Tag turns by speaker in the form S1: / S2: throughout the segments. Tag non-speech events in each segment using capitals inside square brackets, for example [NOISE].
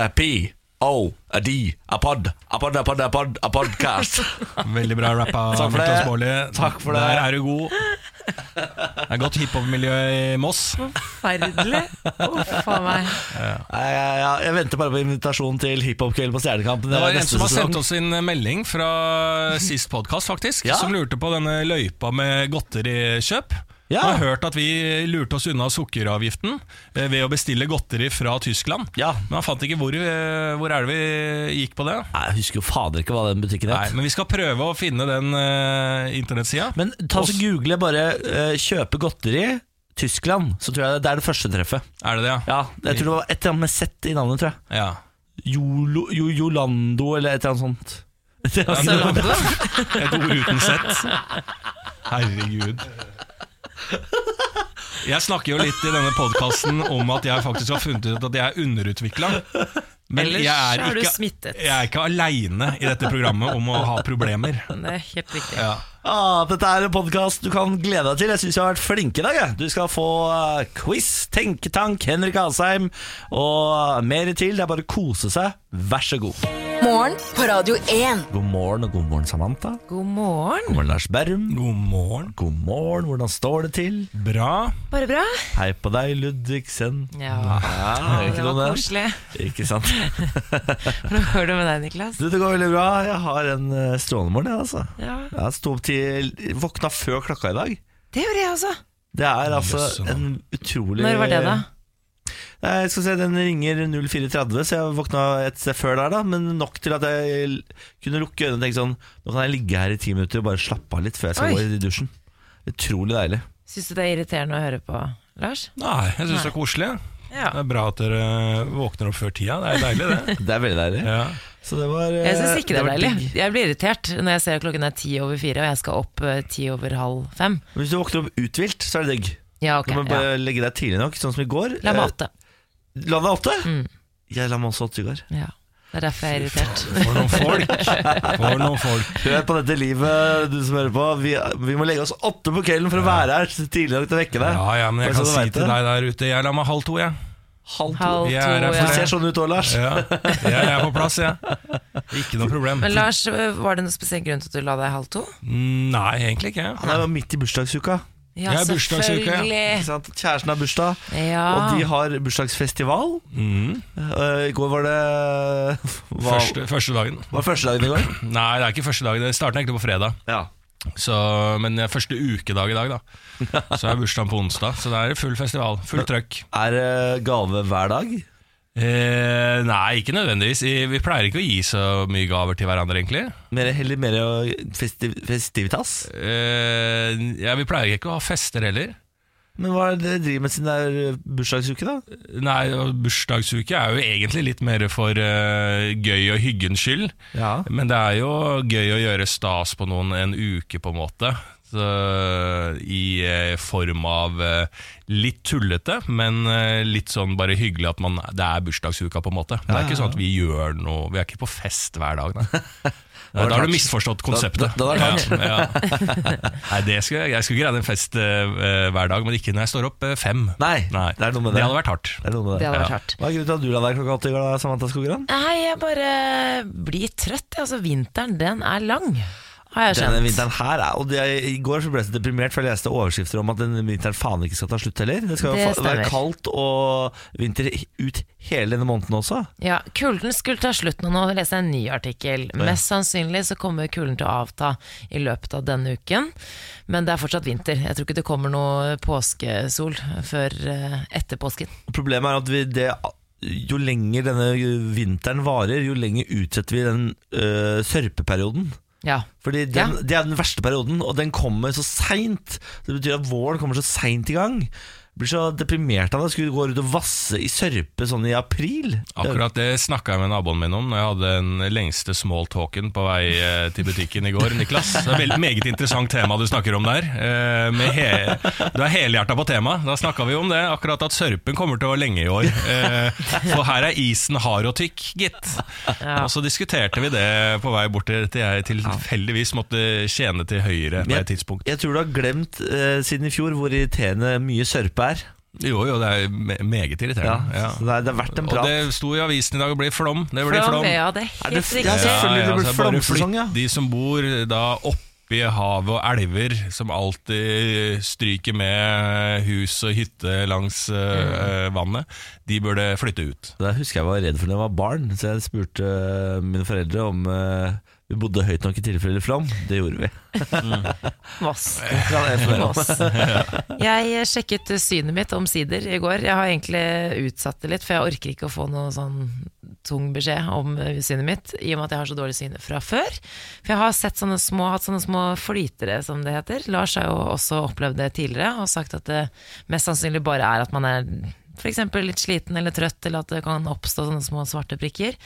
S1: Terapi. Oh, O. Adi. Apod. Apod, apod, apod,
S2: [LAUGHS]
S1: apodcast.
S2: Veldig bra rappa.
S1: Takk for det.
S2: Niklas Baarli.
S1: Takk for det.
S2: Der er du god. Det er godt hiphop-miljø i Moss.
S3: Forferdelig. Uff a meg.
S1: Jeg, jeg, jeg, jeg venter bare på invitasjon til hiphopkveld på Stjernekamp.
S2: Det var en
S1: neste
S2: som har
S1: sesong.
S2: sendt oss en melding fra sist podkast, faktisk.
S1: Ja.
S2: Som lurte på denne løypa med godterikjøp.
S1: Ja.
S2: Han har hørt at vi lurte oss unna sukkeravgiften eh, ved å bestille godteri fra Tyskland.
S1: Ja.
S2: Men han fant ikke hvor, eh, hvor er det vi gikk på det.
S1: Nei, Jeg husker jo fader ikke hva den butikken
S2: Nei,
S1: het.
S2: Men vi skal prøve å finne den uh, internettsida.
S1: Men ta så google bare eh, 'kjøpe godteri'. Tyskland, så tror jeg det er det første treffet.
S2: Er det det, ja?
S1: Ja, Jeg tror det var et eller annet med Z i navnet, tror jeg.
S2: ja.
S1: Jolo, jo, Jolando, eller et eller annet sånt. [LAUGHS] Det var-
S2: Et ord uten sett. Herregud. Jeg snakker jo litt i denne podkasten om at jeg faktisk har funnet ut at jeg er underutvikla. Men
S3: Ellers
S2: jeg er,
S3: er du
S2: ikke,
S3: smittet.
S2: jeg er ikke aleine i dette programmet om å ha problemer.
S3: Det er helt riktig.
S2: Ja.
S1: Ah, dette er en podkast du kan glede deg til. Jeg syns vi har vært flinke i dag. Jeg. Du skal få eh, quiz, tenketank, Henrik Asheim og mer til. Det er bare å kose seg. Vær så god.
S4: Morgen på Radio 1.
S1: God morgen og god morgen, Samantha.
S3: God morgen.
S1: God morgen, Lars Berrum.
S2: God morgen.
S1: God morgen, hvordan står det til?
S2: Bra.
S3: Bare bra?
S1: Hei på deg, Ludvigsen.
S3: Ja,
S1: [LAUGHS] Ja,
S3: det
S1: noe
S3: var
S1: med
S3: koselig.
S1: det. Ikke sant?
S3: Hvordan går det med deg, Niklas?
S1: Du, det går veldig bra. Jeg har en eh, strålende morgen, jeg, altså.
S3: Ja,
S1: Jeg sto opp til Våkna før klokka i dag.
S3: Det gjorde jeg også.
S1: Det er altså
S2: Jøsse navn.
S1: en utrolig
S3: Når var det, da?
S1: Nei, Jeg skal se, Den ringer 04.30, så jeg våkna et sted før der, da. Men nok til at jeg l- kunne lukke øynene og tenke sånn Nå kan jeg ligge her i ti minutter og bare slappe av litt før jeg skal
S3: Oi.
S1: gå i dusjen. Utrolig deilig.
S3: Syns du det er irriterende å høre på, Lars?
S2: Nei, jeg syns det er koselig.
S3: Ja.
S2: Det er bra at dere våkner opp før tida. Det er deilig, det.
S1: Det er veldig deilig.
S3: [LAUGHS]
S2: Ja.
S1: Så det var eh,
S3: Jeg syns ikke det er
S1: var
S3: deilig.
S1: digg.
S3: Jeg blir irritert når jeg ser klokken er ti over fire, og jeg skal opp eh, ti over halv fem.
S1: Men Hvis du våkner opp uthvilt, så er det digg.
S3: Ja, ok.
S1: Du må
S3: Ja.
S1: bare legge deg tidlig nok, sånn som i går.
S3: La
S1: Eh,
S3: meg åtte.
S1: La deg åtte?
S3: Mm.
S1: Jeg la meg også åtte i går.
S3: Ja. Det er derfor jeg er irritert.
S2: For noen folk. For noen folk.
S1: Hør på dette livet, du som hører på. Vi, vi må legge oss åtte på kvelden for å være her tidlig nok til å vekke deg.
S2: Ja, ja, men jeg
S1: Bare så
S2: kan
S1: du
S2: si
S1: vet
S2: til
S1: det.
S2: deg der ute Jeg la meg halv to, jeg.
S1: Halv to.
S3: Halv to,
S2: Jeg er her for
S1: Det
S3: ja.
S1: ser sånn ut òg, Lars.
S2: [LAUGHS] Ja. Jeg er på plass, jeg. Ikke noe problem.
S3: Men Lars, eh, var det noen spesiell grunn til at du la deg halv to?
S2: Nei, egentlig ikke.
S1: Han er jo midt i bursdagsuka.
S3: Ja,
S2: Jeg er bursdagsuke, ja.
S1: Ikke
S3: selvfølgelig.
S1: sant? Kjæresten har bursdag,
S3: Ja.
S1: og de har bursdagsfestival.
S2: Mm.
S1: Eh, I går var det hva,
S2: Første, første dagen.
S1: Var første dagen i går?
S2: Nei, det er ikke første dag. Det starter egentlig på fredag.
S1: Ja.
S2: Så, men det er første ukedag i dag, da. Så er bursdagen på onsdag. Så det er full festival. Full trøkk.
S1: Er det gave hver dag?
S2: Eh, nei, ikke nødvendigvis. I- Vi pleier ikke å gi så mye gaver til hverandre, egentlig.
S1: Mer, heller mer eh, festi festivitas?
S2: Eh, ja, vi pleier ikke å ha fester heller.
S1: Men hva er det dere driver med siden det er eh, bursdagsuke, da?
S2: Nei, og bursdagsuke er jo egentlig litt mer for eh, gøy og hyggens skyld.
S1: Ja.
S2: Men det er jo gøy å gjøre stas på noen en uke, på en måte. Så, I eh, form av eh, litt tullete, men eh, litt sånn bare hyggelig at man, det er bursdagsuka, på en måte. Det er ikke sånn at vi gjør noe Vi er ikke på fest hver dag, nei.
S1: [LAUGHS]
S2: Da, har du misforstått konseptet.
S1: Da- da- da er det
S2: ja, ja. Nei, det skulle, jeg- jeg skulle greid en fest eh, hver dag, men ikke når jeg står opp eh, fem.
S1: Nei,
S2: Nei.
S1: det er noe med
S2: Det
S1: det.
S2: hadde vært hardt.
S1: Det er noe med
S3: Det
S1: det.
S2: Ja.
S3: hadde vært hardt.
S1: Hva er grunnen til at du la deg klokka åtte i går, da, Samantha Skogran?
S3: Nei, jeg bare blir trøtt. jeg. Altså, vinteren, den er lang, har jeg skjønt.
S1: Denne vinteren her er, og det, I går så ble jeg så deprimert, for jeg leste overskrifter om at denne vinteren faen ikke skal ta slutt heller. Det skal jo
S3: Det
S1: fa- være
S3: stemmer.
S1: kaldt og vinter ut hele denne måneden også.
S3: Ja, Kulden skulle ta slutt nå. Nå leser jeg en ny artikkel. Mest sannsynlig så kommer kulden til å avta i løpet av denne uken. Men det er fortsatt vinter. Jeg tror ikke det kommer noe påskesol før eh, etter påsken.
S1: Og Problemet er at vi, det, jo lenger denne vinteren varer, jo lenger utsetter vi den øh, sørpeperioden.
S3: Ja.
S1: Fordi den,
S3: Ja.
S1: Det er den verste perioden, og den kommer så seint. Det betyr at våren kommer så seint i gang. Jeg Blir så deprimert av det. Skulle gå rundt og vasse i sørpe sånn i april.
S2: Akkurat det snakka jeg med naboen min om Når jeg hadde den lengste smalltalken på vei eh, til butikken i går. Niklas Det er et veldig meget interessant tema du snakker om der. Eh, Med he du er helhjerta på temaet. Da snakka vi om det. Akkurat at sørpen kommer til å være lenge i år. Eh, For her er isen hard og tykk, gitt.
S1: Eh,
S3: Ja.
S2: Og så diskuterte vi det på vei bort til til jeg tilfeldigvis måtte tjene til høyre på et tidspunkt.
S1: Jeg tror du har glemt eh, siden i fjor hvor irriterende mye sørpe er.
S2: Jo, jo, det er me- meget
S1: Ja,
S2: irriterende. Ja.
S1: så det er, det er verdt en
S2: Og
S1: prat.
S2: det sto i avisen i dag, det blir flom. Det blir
S3: Flom,
S2: flom.
S3: ja, det er
S1: Er
S3: helt
S1: det-
S3: riktig.
S1: Ja, selvfølgelig, det blir
S2: så altså, bare
S1: flomsesong,
S2: flytt
S1: ja.
S2: De som bor da oppi havet og elver, som alltid stryker med hus og hytte langs eh,
S1: Mm.
S2: vannet, de burde flytte ut.
S1: Det husker jeg var redd for da jeg var barn, så jeg spurte eh, mine foreldre om eh, vi bodde høyt nok i tilfelle flom. Det gjorde
S2: [LAUGHS]
S1: vi.
S3: Mass.
S1: Fra det
S3: [LAUGHS]
S1: FNL.
S3: Mass. [LAUGHS] Jeg sjekket synet mitt omsider i går. Jeg har egentlig utsatt det litt, for jeg orker ikke å få noe sånn tung beskjed om eh, synet mitt, i og med at jeg har så dårlig syne fra før. For jeg har sett sånne små, hatt sånne små flytere, som det heter. Lars har jo også opplevd det tidligere, og sagt at det mest sannsynlig bare er at man er f.eks. litt sliten eller trøtt, eller at det kan oppstå sånne små svarte prikker.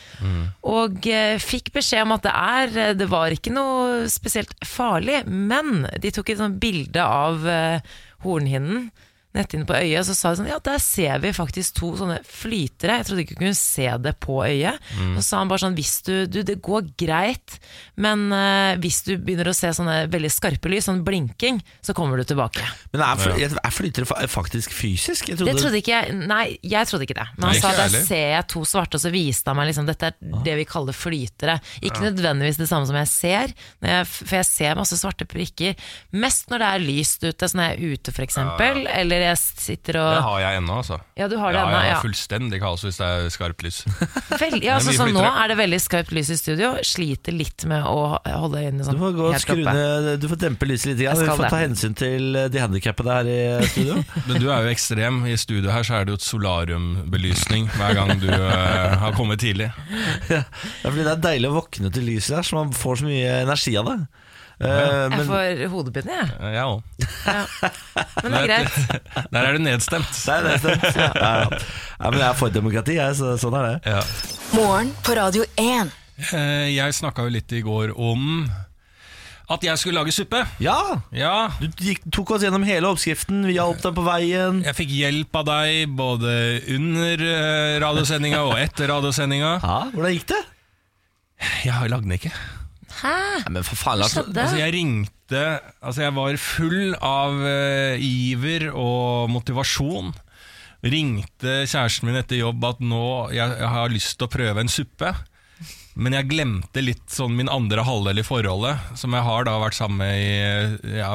S3: Og eh, fikk beskjed om at det er eh, Det var ikke noe spesielt farlig, men de tok et sånt bilde av eh, hornhinnen netthinnen på øyet, og så sa de sånn Ja, der ser vi faktisk to sånne flytere. Jeg trodde ikke hun kunne se det på øyet. Så sa han bare sånn Hvis du Du, det går greit, men eh, hvis du begynner å se sånne veldig skarpe lys, sånn blinking, så kommer du tilbake.
S1: Men er, fly, er flytere fa- faktisk fysisk? Jeg
S3: Det
S1: trodde,
S3: trodde ikke jeg Nei, jeg trodde ikke det. Men
S2: Nei,
S3: han sa
S2: ikke jeg
S3: der
S2: heller. Ah.
S3: ser jeg to svarte, og så viste han meg liksom Dette er det vi kaller flytere. Ikke nødvendigvis det samme som jeg ser, når jeg, for jeg ser masse svarte prikker. Mest når det er lyst ute, så når jeg er ute f.eks., eksempel eller jeg sitter og
S2: Det har jeg ennå, altså.
S3: Ja, du har det
S2: ja,
S3: ennå,
S2: jeg har
S3: ja.
S2: fullstendig kaos hvis det er skarpt lys.
S3: [LAUGHS] Vel, ja,
S2: Det er
S3: altså,
S2: mye
S3: så nå
S2: flyttere.
S3: er det veldig skarpt lys i studio. Sliter litt med å holde øynene
S1: du
S3: sånn
S1: får gå og skru ned Du får dempe lyset litt.
S3: Jeg
S1: grann. Vi
S3: skal
S1: får ta
S3: det.
S1: hensyn til eh, de handikappede her i
S2: [LAUGHS]
S1: studio.
S2: Men du er jo ekstrem. I studio her så er det jo et solariumbelysning hver gang du eh, har kommet tidlig.
S1: Det er fordi det er deilig å våkne til lyset der, så man får så mye energi av det. Eh,
S3: Jeg
S1: men
S3: får hodepine, jeg.
S2: Eh, Jeg òg.
S1: [LAUGHS]
S3: Men det er greit.
S2: [LAUGHS] Der er du nedstemt.
S1: Nei, det er sant. [LAUGHS] ja. Ja. Ja, men jeg er for demokrati, jeg, så sånn er det.
S2: Ja.
S4: Morgen på Radio 1.
S2: Eh, Jeg snakka jo litt i går om at jeg skulle lage suppe.
S1: Ja!
S2: Ja,
S1: Du gikk, tok oss gjennom hele oppskriften, vi hjalp deg på veien.
S2: jeg fikk hjelp av deg både under eh, radiosendinga og etter radiosendinga.
S1: Ja, Hvordan gikk det?
S2: [LAUGHS] Jeg har lagd den ikke.
S3: Hæ?
S1: Nei, men for faen, Lars.
S3: Skjedde?
S2: Altså, jeg ringte Altså, jeg var full av eh, iver og motivasjon. Ringte kjæresten min etter jobb at nå jeg, jeg har lyst til å prøve en suppe. Men jeg glemte litt sånn min andre halvdel i forholdet, som jeg har da vært sammen med i eh, ja,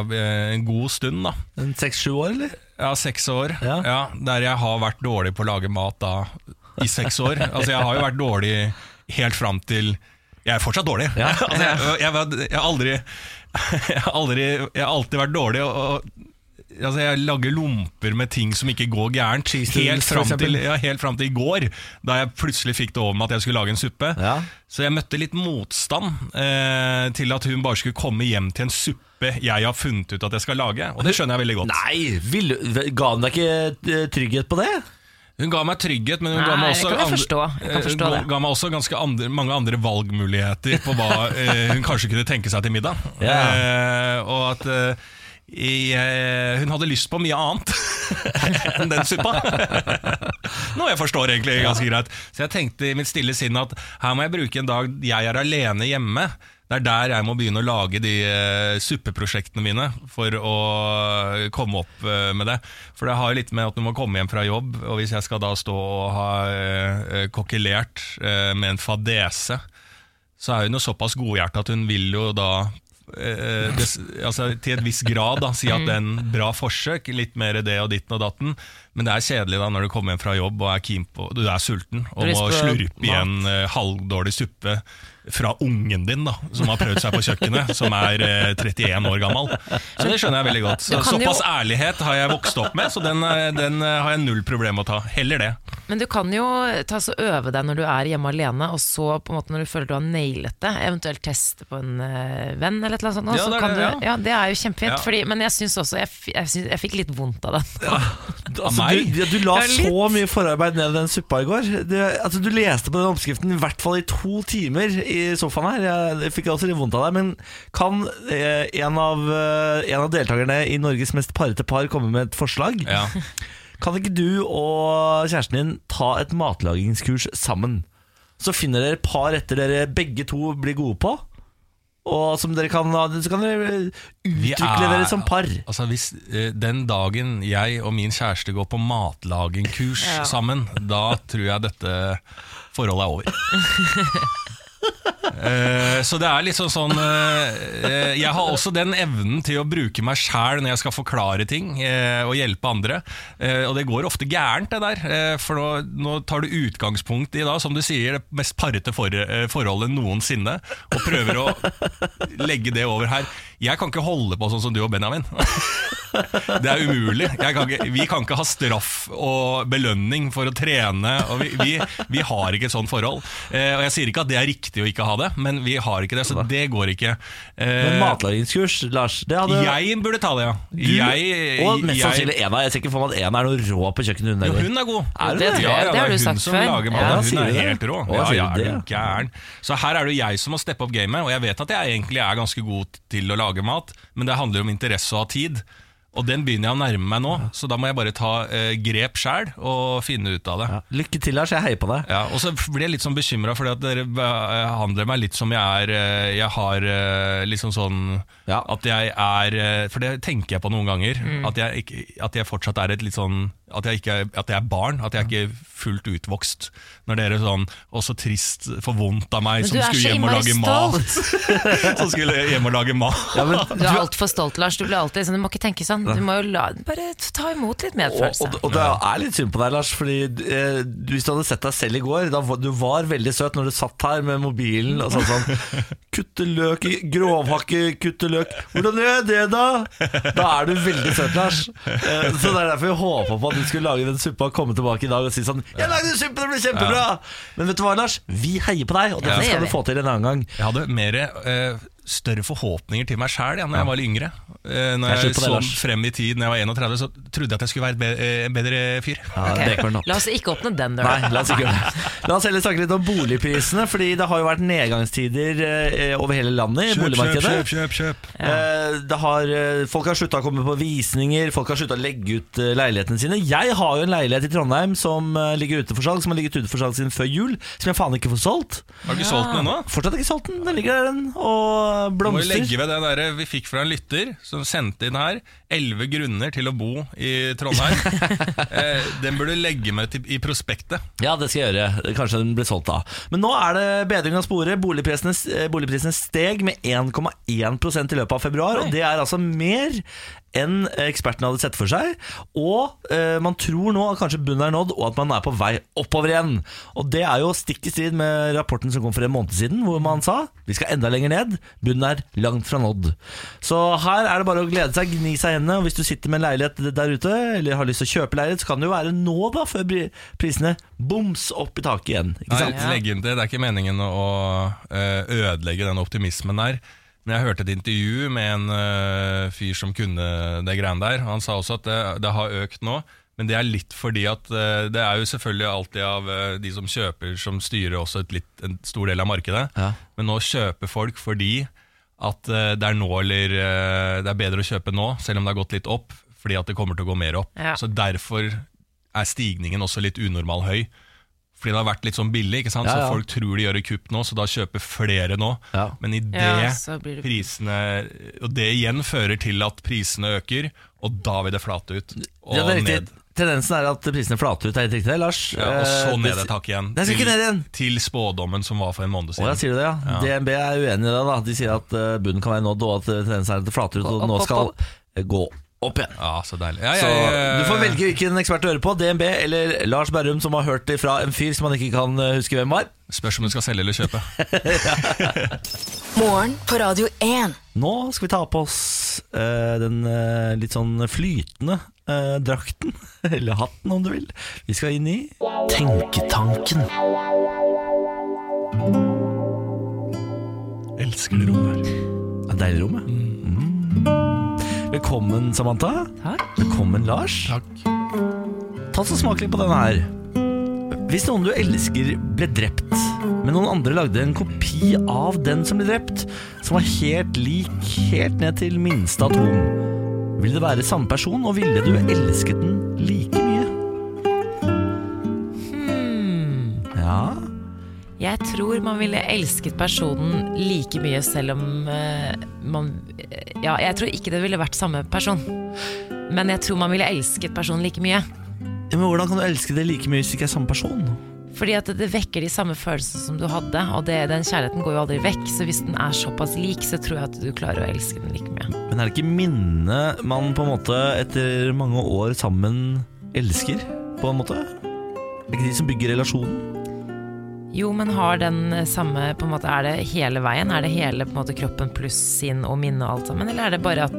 S2: en god stund. da
S1: En Seks-sju år, eller?
S2: Ja, seks år.
S1: Ja.
S2: Ja. der jeg har vært dårlig på å lage mat da i seks
S1: [LAUGHS]
S2: år. Altså, jeg har jo vært dårlig helt fram til Jeg er fortsatt dårlig. [LAUGHS] altså, jeg, jeg, var- jeg har aldri [LAUGHS] jeg har, aldri, jeg har alltid vært dårlig. Og, og, altså, jeg lager lomper med ting som ikke går gærent. Helt
S1: doodles, for
S2: fram, til,
S1: eksempel.
S2: ja, helt fram til i går, da jeg plutselig fikk det over med at jeg skulle lage en suppe.
S1: Ja.
S2: Så jeg møtte litt motstand eh, til at hun bare skulle komme hjem til en suppe jeg har funnet ut at jeg skal lage. Og det skjønner jeg veldig godt.
S1: Nei, vil, ga han deg ikke eh, trygghet på det?
S2: Hun ga meg trygghet, men hun ga
S3: Nei,
S2: meg
S3: det
S2: også,
S3: kan jeg forstå. Jeg kan
S2: eh,
S3: forstå
S2: ga,
S3: det.
S2: ga meg også ganske andre, mange andre valgmuligheter på hva
S3: [LAUGHS]
S2: eh, hun kanskje kunne tenke seg til middag.
S1: Ja.
S2: Eh, og at eh, jeg, hun hadde lyst på mye annet [LAUGHS] enn den suppa. Noe jeg forstår egentlig ganske greit. Så jeg tenkte i mitt stille sinn at her må jeg bruke en dag jeg er alene hjemme. Det er der jeg må begynne å lage de eh, suppeprosjektene mine for å komme opp eh, med det. For det har jo litt med at du må komme hjem fra jobb, og hvis jeg skal da stå og ha eh, kokkelert eh, med en fadese, så er hun jo såpass godhjertet at hun vil jo da eh, des, altså, til et visst grad da,
S3: [LAUGHS] Mm.
S2: si at det er en bra forsøk, litt mer det og ditten og datten. Men det er kjedelig da når du kommer hjem fra jobb og er, keen på, du er sulten
S3: Du har
S2: og
S3: lyst
S2: må
S3: på
S2: slurpe i
S3: mat.
S2: en eh, halvdårlig suppe fra ungen din, da som har prøvd seg på kjøkkenet, som er eh, 31 år gammel. Så det skjønner jeg veldig godt. Så,
S3: Du kan jo-
S2: såpass ærlighet har jeg vokst opp med, så den, eh, den eh, har jeg null problem med å ta. Heller det.
S3: Men du kan jo ta så øve deg når du er hjemme alene, og så på en måte når du føler du har nailet det, eventuelt teste på en eh, venn eller et eller annet sånt. og
S2: Ja,
S3: så
S2: det er det,
S3: kan du, ja. det er jo kjempefint.
S2: Ja.
S3: Fordi, men jeg syns også jeg, f- jeg, syns- jeg fikk litt vondt av den.
S1: Altså,
S2: meg?
S1: du, ja, du la
S3: Ja, litt.
S1: så mye forarbeid ned i den suppa i går. Det, altså, du leste på den oppskriften i hvert fall i to timer i sofaen her. Jeg, jeg fikk også litt vondt av deg. Men kan eh, en, av, eh, en av deltakerne i Norges mest parete par komme med et forslag?
S2: Ja.
S1: Kan ikke du og kjæresten din ta et matlagingskurs sammen? Så finner dere et par retter dere begge to blir gode på, Og som dere kan, ha- så kan dere eh,
S2: Vi
S1: utvikle
S2: er-
S1: dere som par.
S2: Altså hvis eh, Den dagen jeg og min kjæreste går på matlagingkurs
S3: Ja.
S2: sammen, da tror jeg dette forholdet er over. Eh, så det er litt sånn sånn eh, eh, Jeg har også den evnen til å bruke meg sjæl når jeg skal forklare ting eh, og hjelpe andre. Eh, og det går ofte gærent, det der. Eh, for nå, nå tar du utgangspunkt i da, som du sier, det mest parete for, eh, forholdet noensinne, og prøver å legge det over her. Jeg kan ikke holde på sånn som du og Benjamin. [LAUGHS] Det er umulig. Jeg kan ikke, vi kan ikke ha straff og belønning for å trene. Og vi, vi, vi har ikke et sånt forhold. Eh, og Jeg sier ikke at det er riktig å ikke ha det, men vi har ikke det, så det går ikke. Eh,
S1: Men matlagingskurs, Lars, det hadde
S2: jeg burde ta det, ja.
S1: du,
S2: jeg,
S1: Og mest
S2: jeg-
S1: sannsynlig Ena. Jeg ser ikke for meg at Ena er noe rå på kjøkkenet. Hun
S2: jo,
S1: heller.
S2: hun er god.
S1: Er hun det?
S2: Ja, ja,
S3: Det har
S2: er
S3: du
S2: hun
S3: sagt
S2: som
S3: før.
S2: lager
S1: Ja,
S2: mat.
S1: sier
S2: hun
S1: du
S2: er
S1: det?
S2: helt rå.
S1: Å,
S2: Ja,
S1: sier
S2: ja,
S1: du
S2: er du
S1: det?
S2: gæren. Så her er det jo jeg som må steppe opp gamet, og jeg vet at jeg egentlig er ganske god til å lage mat, men det handler jo om interesse og tid. Og den begynner jeg å nærme meg nå, så da må jeg bare ta eh, grep sjæl og finne ut av det.
S1: Ja. Lykke til, Lars. Jeg heier på deg.
S2: Ja, og så blir jeg litt sånn bekymra, fordi at dere behandler meg litt som jeg er eh, Jeg har eh, liksom sånn
S1: Ja.
S2: At jeg er eh, For det tenker jeg på noen ganger.
S3: Mm.
S2: At, jeg, ikke- at jeg fortsatt er et litt sånn At jeg, ikke, er- at jeg er barn. At jeg er ikke fullt utvokst. Når dere sånn Å, så trist, for vondt av meg
S3: Men
S2: som
S3: du er
S2: skulle
S3: så
S2: hjem og
S3: innmari
S2: lage mat.
S3: [LAUGHS]
S2: [LAUGHS] Som skulle hjem og lage mat.
S1: Ja, men,
S3: Du er altfor stolt, Lars. Du blir alltid sånn, du må ikke tenke sånn. Du må jo la, bare ta imot litt
S1: og,
S3: medfølelse.
S1: og, og det er litt synd på deg, Lars. Fordi eh, du- Hvis du hadde sett deg selv i går da, var- Du var veldig søt når du satt her med mobilen og sa
S3: [LAUGHS]
S1: sånn Kutte løk i grovhakke, kutte løk Hvordan gjør jeg det, da? Da er du veldig søt, Lars. Eh, så Det er derfor jeg håpa på at du skulle lage den suppa og komme tilbake i dag og si sånn 'Jeg lagde suppe, det ble kjempebra!' Men vet du hva, Lars? Vi heier på deg, og dette
S3: Ja.
S1: skal
S3: Det
S1: du
S3: gjør
S1: få til en annen gang.
S2: Jeg hadde mer, eh, større forhåpninger til meg sjæl da jeg var litt yngre. Eh, når
S1: Jeg
S2: jeg,
S1: slutter på det,
S2: så
S1: Lars.
S2: frem i tid når jeg var 31, så trodde jeg at jeg skulle være et be- eh, bedre fyr.
S1: Ja,
S3: Ok.
S1: det går nok.
S3: La oss ikke åpne den døra.
S1: Nei, la oss ikke gjøre det. La oss heller snakke litt om boligprisene, fordi det har jo vært nedgangstider eh, over hele landet i boligmarkedet.
S2: kjøp, kjøp.
S1: Eh, Det har, eh, folk har slutta å komme på visninger, folk har slutta å legge ut eh, leilighetene sine. Jeg har jo en leilighet i Trondheim som eh, ligger ute for salg, som har ligget ute for salg siden før jul, som jeg faen ikke får solgt.
S2: Har du ikke solgt den ennå?
S1: Fortsatt ikke solgt den. Den ligger der, den, og
S2: Du Må jo
S1: blomster.
S2: legge ved det der eh, vi fikk fra en lytter som sendte inn her. Elleve grunner til å bo i
S1: [LAUGHS]
S2: Trondheim. eh, den burde du legge med til, i prospektet.
S1: Ja, det skal jeg gjøre. Kanskje den blir solgt da. Men nå er det bedring av sporet. Boligprisene, eh, boligprisene steg med 1,1 i løpet av februar, og det er altså mer enn ekspertene hadde sett for seg. Og eh, man tror nå at kanskje bunnen er nådd, og at man er på vei oppover igjen. Og det er jo stikk i strid med rapporten som kom for en måned siden, hvor man sa vi skal enda lenger ned, bunnen er langt fra nådd. Så her er det bare å glede seg, gni seg i hendene, og hvis du sitter med en leilighet der ute, eller har lyst til å kjøpe leilighet, så kan det jo være nå, da, før bri- prisene boms opp i taket igjen. Ikke
S2: Nei,
S1: sant?
S2: legg inn til, det er ikke meningen å eh, ødelegge den optimismen der. Men jeg hørte et intervju med en eh, fyr som kunne det greiene der. Han sa også at det, det har økt nå, men det er litt fordi at eh, det er jo selvfølgelig alltid av eh, de som kjøper, som styrer også et litt, en stor del av markedet.
S1: Ja.
S2: Men nå kjøper folk fordi at eh, det er nå eller eh, det er bedre å kjøpe nå, selv om det har gått litt opp, fordi at det kommer til å gå mer opp.
S3: Ja.
S2: Så derfor er stigningen også litt unormal høy. Fordi det har vært litt sånn billig, ikke sant?
S1: Ja, ja.
S2: så folk tror de gjør et kupp nå, så da kjøper flere nå.
S1: Ja.
S2: Men i det
S3: Ja, så blir det
S2: prisene Og det igjen fører til at prisene øker, og da vil det flate ut. Og
S1: Ja, det er
S2: ned.
S1: riktig. Tendensen er at prisene flater ut, er helt riktig det, Lars?
S2: Ja, og så
S1: Eh,
S2: ned
S1: det-
S2: et tak igjen.
S1: Nei, jeg skal ikke ned igjen.
S2: til spådommen som var for en måned
S1: Å,
S2: siden.
S1: ja, sier du det, ja. DNB er uenig i det. da De sier at eh, bunnen kan være nådd, og at eh, tendensen er at det flater ut, og
S3: Opp,
S1: nå
S3: opp,
S1: skal
S3: opp.
S1: eh, gå opp igjen.
S2: ja, så deilig. Ja,
S1: Så
S2: jeg, eh,
S1: du får velge hvilken ekspert du hører på, DNB eller Lars Berrum, som har hørt det fra en fyr som han ikke kan eh, huske hvem var.
S2: Spørs om du skal selge eller [LAUGHS] kjøpe.
S4: Morgen på Radio 1.
S1: Nå skal vi ta på oss eh, den eh, litt sånn flytende eh, drakten, [LAUGHS] eller hatten om du vil. Vi skal inn i Tenketanken.
S2: Elsker det rommet.
S1: Det er Deilig rom, ja. Mm. Velkommen, Samantha.
S3: Takk.
S1: Velkommen, Lars.
S2: Takk.
S1: Ta så smak litt på denne her. Hvis noen du elsker ble drept, men noen andre lagde en kopi av den som ble drept, som var helt lik, helt ned til minste atom, ville det være samme person, og ville du elsket den
S3: Mm.
S1: like mye? Ja
S3: Jeg tror man ville elsket personen like mye selv om eh, man eh, Ja, jeg tror ikke det ville vært samme person. Men jeg tror man ville elsket personen like mye.
S1: Ja, men hvordan kan du elske det like mye hvis det ikke er samme person?
S3: Fordi at det vekker de samme følelsene som du hadde, og det, den kjærligheten går jo aldri vekk. Så hvis den er såpass lik, så tror jeg at du klarer å elske den like mye.
S1: Men er det ikke minnet man på en måte etter mange år sammen elsker, på en måte? Er det ikke de som bygger relasjonen?
S3: Jo, men har den eh, samme på en måte, Er det hele veien? Er det hele på en måte, kroppen pluss sinn og minne og alt sammen? Eller er det bare at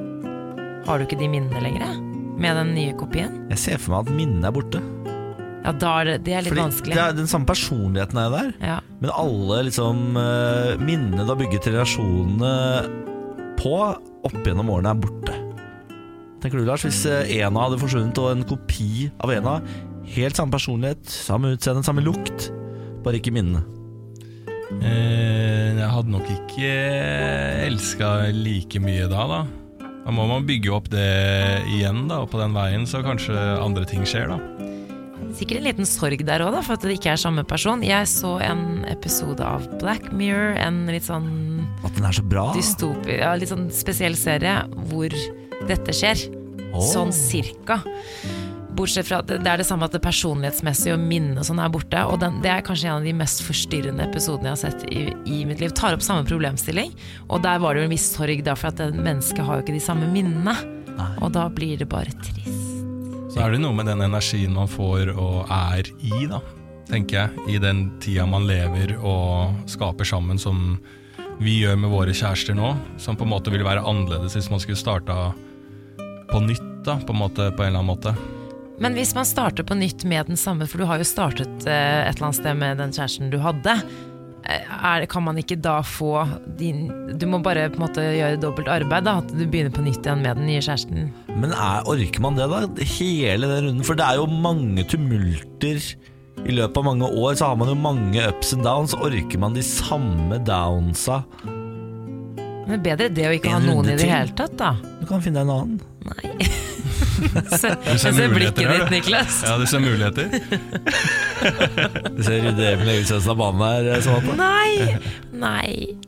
S3: Har du ikke de minnene lenger? eh, Med den nye kopien?
S1: Jeg ser for meg at minnet er borte.
S3: Ja, da er det, det er litt vanskelig.
S1: det er Den samme personligheten er jo der,
S3: Ja.
S1: men alle liksom eh, minnene du har bygget relasjonene på opp gjennom årene, er borte. Tenker du, Lars, hvis eh, Ena hadde forsvunnet og en kopi av Ena Helt samme personlighet, samme utseende, samme lukt, bare ikke minnene.
S2: Eh, Jeg hadde nok ikke elska like mye da, da. Da må man bygge opp det igjen, da, og på den veien så kanskje andre ting skjer, da.
S3: Sikkert en liten sorg der òg, for at det ikke er samme person. Jeg så en episode av Black Mirror, en litt sånn
S1: At den er så bra.
S3: dystopi, ja, litt sånn spesiell serie hvor dette skjer.
S1: Åh.
S3: Sånn cirka. Bortsett fra at det det er det samme at det personlighetsmessige og minnet og sånn er borte. Og den, det er kanskje en av de mest forstyrrende episodene jeg har sett i, i mitt liv. Tar opp samme problemstilling, og der var det jo en viss sorg, da, for at det mennesket har jo ikke de samme minnene. Og da blir det bare trist.
S2: Så er det noe med den energien man får og er i, da, tenker jeg. I den tida man lever og skaper sammen, som vi gjør med våre kjærester nå. Som på en måte ville være annerledes hvis man skulle starta på nytt, da, på en, måte, på en eller annen [LAUGHS] måte.
S3: Men hvis man starter på nytt med den samme, for du har jo startet eh, et eller annet sted med den kjæresten du hadde, eh, er, kan man ikke da få din Du må bare på en måte gjøre dobbelt arbeid, da, at du begynner på nytt igjen med den nye kjæresten.
S1: Men er, orker man det, da? Hele den runden? For det er jo mange tumulter. I løpet av mange år så har man jo mange ups and downs. Orker man de samme downsa?
S3: Men det er bedre det å ikke
S1: En
S3: ha noen
S1: runde
S3: i det
S1: til.
S3: hele tatt,
S1: [LAUGHS]
S3: da.
S1: Du kan finne deg en annen.
S3: Nei. Se, jeg
S2: ser
S3: ser
S2: muligheter
S3: blikket
S2: her,
S3: ditt,
S2: du.
S3: Niklas.
S2: Ja, du ser muligheter.
S1: Du ser Rydde Emil Egilsøsen av banen her. eh, Samantha. [LAUGHS]
S3: Nei! Nei.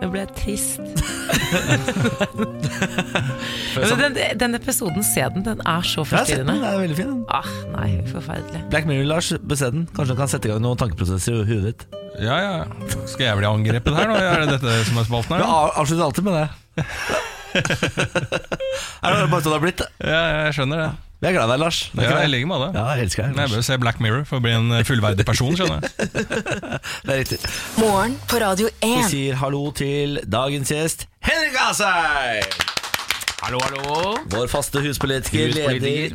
S3: Nå ble jeg trist. Men den, den episoden, se den. Den er så
S1: Jeg har sett den,
S3: forstyrrende.
S1: det er veldig fin. den.
S3: Ah, nei, forferdelig.
S1: Black Mirror, Lars. Bese den. Kanskje du kan sette i gang noen tankeprosesser i huet ditt.
S2: Ja, ja. Skal jeg bli angrepet her nå? Er det dette som er spalten her?
S1: Du
S2: da?
S1: av- avslutter alltid med det. [LAUGHS] er det bare sånn det har blitt?
S2: Ja, jeg skjønner det.
S1: Jeg er glad i deg, Lars. Det er
S2: Ja,
S1: ikke
S2: jeg
S1: det.
S2: ligger med det.
S1: ja, jeg elsker deg.
S2: Men jeg
S1: Lars.
S2: bør jo se Black Mirror for å bli en eh, fullverdig person, skjønner jeg.
S1: Det er riktig.
S4: Morgen på Radio
S1: Vi
S4: 1.
S1: sier hallo til dagens gjest, Henrik Asheim!
S2: Hallo, hallo.
S1: Vår faste huspolitiker,
S2: Huspolitiker.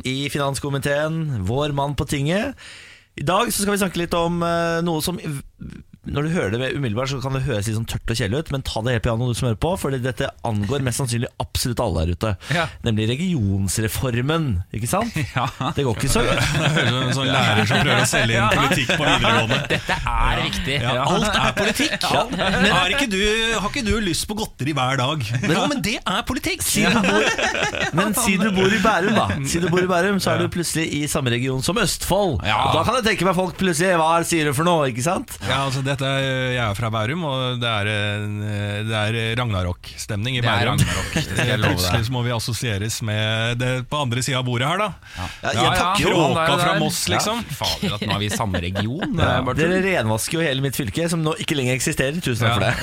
S1: leder i finanskomiteen, vår mann på tinget. I dag så skal vi snakke litt om eh, noe som Når du hører det ved umiddelbart, så kan det høres litt sånn tørt og kjedelig ut, men ta det helt piano, du som hører på, for dette angår mest sannsynlig absolutt alle der ute.
S2: Ja.
S1: Nemlig regionsreformen, ikke
S2: [LAUGHS]
S1: sant?
S5: Ja.
S1: Det går ikke så
S2: Høres ut som en sånn lærer som prøver å selge inn politikk på videregående.
S5: Dette er viktig. Alt er politikk. Har, ikke du, har ikke du lyst på godteri hver dag? Jo, men det er politikk! [LAUGHS]
S1: Men si du bor i Bærum, da. Si du bor i Bærum, så er du plutselig i samme region som Østfold.
S5: Ja.
S1: Og da kan jeg tenke meg folk plutselig Hva er det sier du for noe? Ikke sant?
S2: Ja, altså dette er, Jeg er fra Bærum, og det er, en- det er eh, ragnarok-stemning i
S5: Det er
S2: Bærum. Eh,
S5: ragnarok, det skal jeg love deg.
S2: Plutselig så må vi assosieres med det på andre sida av bordet her, da.
S1: Ja, jeg
S5: ja,
S1: takker jo
S5: han er
S2: Kråka
S5: jo
S2: fra
S5: der.
S2: Moss, liksom.
S5: Ja, fader, at nå er vi i samme
S1: [LAUGHS]
S5: region. Det
S1: Ja,
S5: er, bare
S1: Dere
S5: tull.
S1: renvasker jo hele mitt fylke, som nå ikke lenger eksisterer. Tusen takk for det.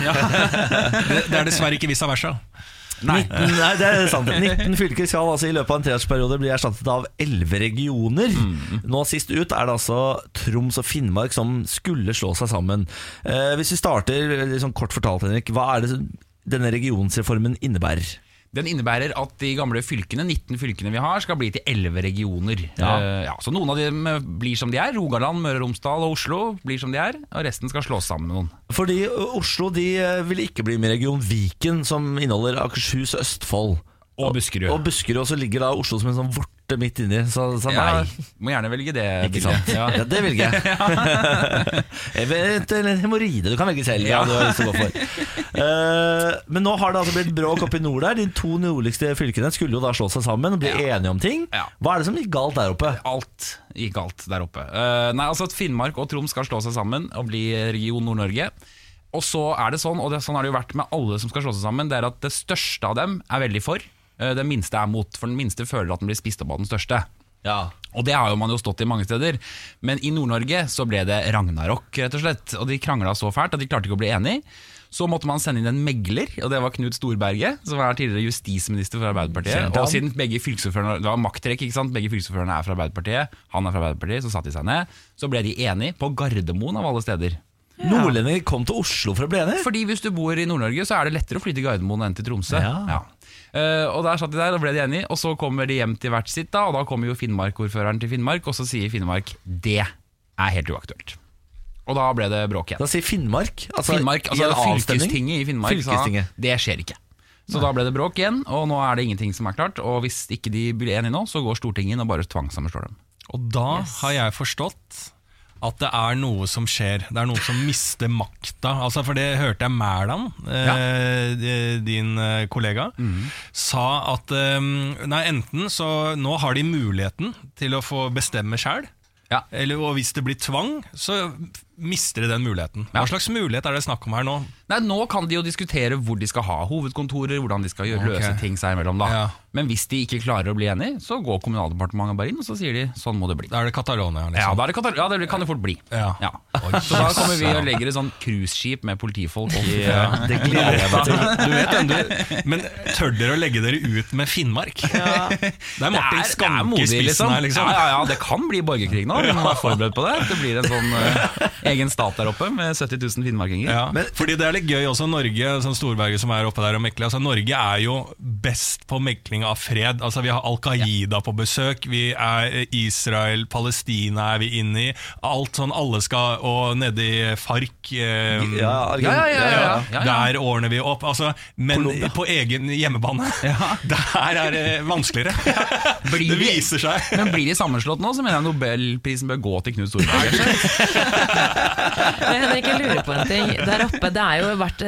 S2: det, det er dessverre ikke vice versa.
S5: Nei.
S1: 19, nei, det er sant. 19 fylker skal altså i løpet av en treårsperiode bli erstattet av 11 regioner.
S5: Mm.
S1: Nå sist ut er det altså Troms og Finnmark som skulle slå seg sammen. Eh, hvis vi starter eh, liksom kort fortalt, Henrik. Hva er det som- denne regionsreformen innebærer?
S5: Den innebærer at de gamle fylkene, 19 fylkene vi har, skal bli til 11 regioner.
S1: Ja.
S5: Eh, ja, så noen av dem blir som de er. Rogaland, Møre og Romsdal og Oslo blir som de er. Og resten skal slås sammen med noen.
S1: Fordi eh, Oslo de eh, vil ikke bli med i region Viken, som inneholder Akershus og Østfold.
S5: Og Buskerud.
S1: Og Buskerud, og så ligger da Oslo som en sånn vorte hjerte midt inni, så, så nei.
S6: Nei, må gjerne velge det
S1: Ikke sant?
S6: bildet.
S1: Ja.
S6: Ja.
S1: det velger
S6: [LAUGHS]
S1: jeg. [LAUGHS] Eventuelt en hemoroide. Du kan velge selv hva du har lyst til å gå
S6: [LAUGHS]
S1: for. Eh, men nå har det altså blitt bråk oppe i nord der. De to nordligste fylkene skulle jo da slå seg sammen og bli enige om ting.
S6: Ja.
S1: Hva er det som gikk galt der oppe?
S6: Alt gikk galt der oppe. Eh, nei, altså at Finnmark og Troms skal slå seg sammen og bli region Nord-Norge. Og så er det sånn, og det, sånn har det jo vært med alle som skal slå seg sammen, det er at det største av dem er veldig for. eh, den minste er mot, for den minste føler at den blir spist opp av den største. Og det har jo man jo stått i mange steder. Men i Nord-Norge så ble det ragnarok, rett og slett. Og de krangla så fælt at de klarte ikke å bli enige. Så måtte man sende inn en megler, og det var Knut Storberget, som er tidligere justisminister for Arbeiderpartiet. Og siden begge fylkesordførerne Det var makttrekk, ikke sant. Begge fylkesordførerne er fra Arbeiderpartiet, han er fra Arbeiderpartiet, så satte de seg ned. Så ble de enige på Gardermoen, av alle steder.
S1: Nordlendinger kom til Oslo for å bli enige?
S6: Fordi hvis du bor i Nord-Norge, så er det lettere å fly til Gardermoen enn til Tromsø.
S1: Ja.
S6: Eh, og der satt de der og ble de enige, og så kommer de hjem til hvert sitt, da, og da kommer jo Finnmark-ordføreren til Finnmark, og så sier Finnmark det er helt uaktuelt. Og da ble det bråk igjen.
S1: Da sier Finnmark. Altså,
S6: Finnmark,
S1: i
S6: altså
S1: en avstemning.
S6: Fylkestinget i Finnmark
S1: Fylkestinget.
S6: sa det skjer ikke. Så da ble det bråk igjen, og nå er det ingenting som er klart. Og hvis ikke de blir enige nå, så går Stortinget inn og bare tvangssammenslår dem.
S2: Og da har jeg forstått at det er noe som skjer. Det er noen som mister makta. Altså, for det hørte jeg Mæland, eh, eh, din eh, kollega, sa at eh, nei, enten så nå har de muligheten til å få bestemme sjæl.
S6: Ja.
S2: Eller, og hvis det blir tvang, så mister de den muligheten. Hva slags mulighet er det snakk om her nå?
S6: Nei, Nå kan de jo diskutere hvor de skal ha hovedkontorer, hvordan de skal gjøre,
S2: Ok.
S6: løse ting seg imellom. da
S2: Ja.
S6: Men hvis de ikke klarer å bli enige, så går Kommunaldepartementet bare inn og så sier de sånn må det bli.
S2: Da er det Catalonia,
S6: Ja,
S2: liksom.
S6: da er det Katar ja, det kan det fort bli.
S2: Ja.
S6: [LAUGHS] Så da kommer vi og legger et sånn cruiseskip med politifolk i ja.
S1: Det gleder jeg meg til.
S2: Du vet den, du. Men tør dere å legge dere ut med Finnmark? [LAUGHS] Det er Martin Skanke i spissen her, liksom.
S6: Ja, ja, ja, det kan bli borgerkrig nå. Vi må være forberedt på det. Det blir en sånn eh, egen stat der oppe med 70 000 finnmarkinger.
S2: Ja, fordi det er litt gøy også Norge, sånn Storberget som er oppe der og mekler altså, Norge er jo best på mekling av fred altså, Vi har Al-Qaida på besøk Vi er Israel, Palestina er vi inne i Alt sånn, alle skal Og nede i Fark eh,
S1: Mm. Ja, Argen-
S6: Ja, ja, ja, ja, ja. ja, ja.
S2: Der ordner vi opp altså, Men på egen hjemmebane
S6: [LAUGHS]
S2: [LAUGHS] Der er det vanskeligere
S6: Blir
S2: [LAUGHS] Det
S6: vi-
S2: viser seg
S6: Men blir de sammenslått nå, så mener jeg Nobelprisen bør gå til Knut Storberget.
S3: Men Henrik, jeg lurer på en ting. Der oppe, det er jo, vært,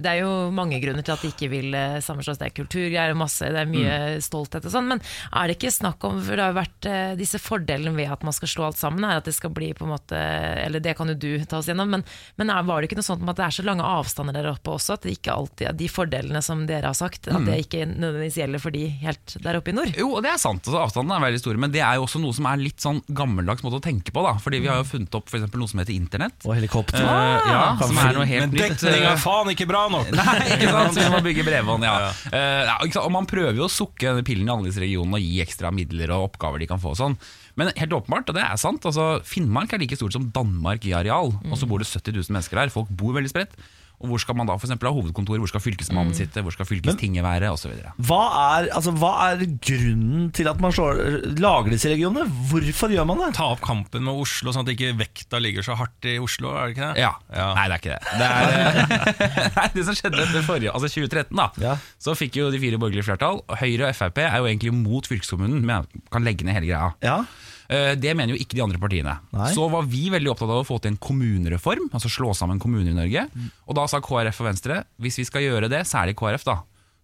S3: det er jo mange grunner til at de ikke vil eh, sammenslås. Det er kulturgreier og masse, det er mye
S1: Mm.
S3: stolthet og sånn. Men er det ikke snakk om for det har jo vært eh, disse fordelene ved at man skal slå alt sammen, er at det skal bli på en måte Eller det kan jo du ta oss gjennom, men, men er, var det ikke noe sånt om at det er så lange avstander der oppe også, at det ikke alltid er de fordelene som dere har sagt, at
S1: Mm.
S3: det ikke nødvendigvis gjelder for de helt der oppe i nord?
S6: Jo, og det er sant. Altså, avstanden er veldig stor. Men det er jo også noe som er litt sånn gammeldags måte å tenke på. da Fordi vi har jo funnet opp for eksempel, noe som heter internett.
S1: Og helikopter.
S6: Eh, ja, som er noe helt
S2: Men
S6: nytt.
S2: dekning er faen ikke bra nok
S6: [LAUGHS] Nei, ikke sant? Så vi må bygge bredbånd, ja. Eh, ja ikke sant? Og man prøver jo å sukke denne pillen i annerledesregionen og gi ekstra midler og oppgaver de kan få og sånn. Men helt åpenbart, og det er sant, altså, Finnmark er like stort som Danmark i areal. Og så bor det 70 000 mennesker der. Folk bor veldig spredt. Og hvor skal man da for eksempel ha hovedkontor, hvor skal fylkesmannen sitte, hvor skal fylkestinget være, osv.
S1: Hva er, altså, hva er grunnen til at man slår, lager disse regionene? Hvorfor gjør man det?
S2: Ta opp kampen med Oslo Sånn at ikke vekta ligger så hardt i Oslo Er det ikke det?
S6: Ja. Nei, det er ikke det. Det, er, [LAUGHS] Nei, det som skjedde etter forrige, altså 2013, da.
S1: Ja.
S6: Så fikk jo de fire borgerlige flertall. og Høyre og Frp er jo egentlig mot fylkeskommunen, men kan legge ned hele greia.
S1: Ja,
S6: Eh, Det mener jo ikke de andre partiene.
S1: Nei.
S6: Så var vi veldig opptatt av å få til en kommunereform, altså slå sammen kommuner i Norge.
S1: Mm.
S6: Og da sa KrF og Venstre hvis vi skal gjøre det, særlig KrF, da,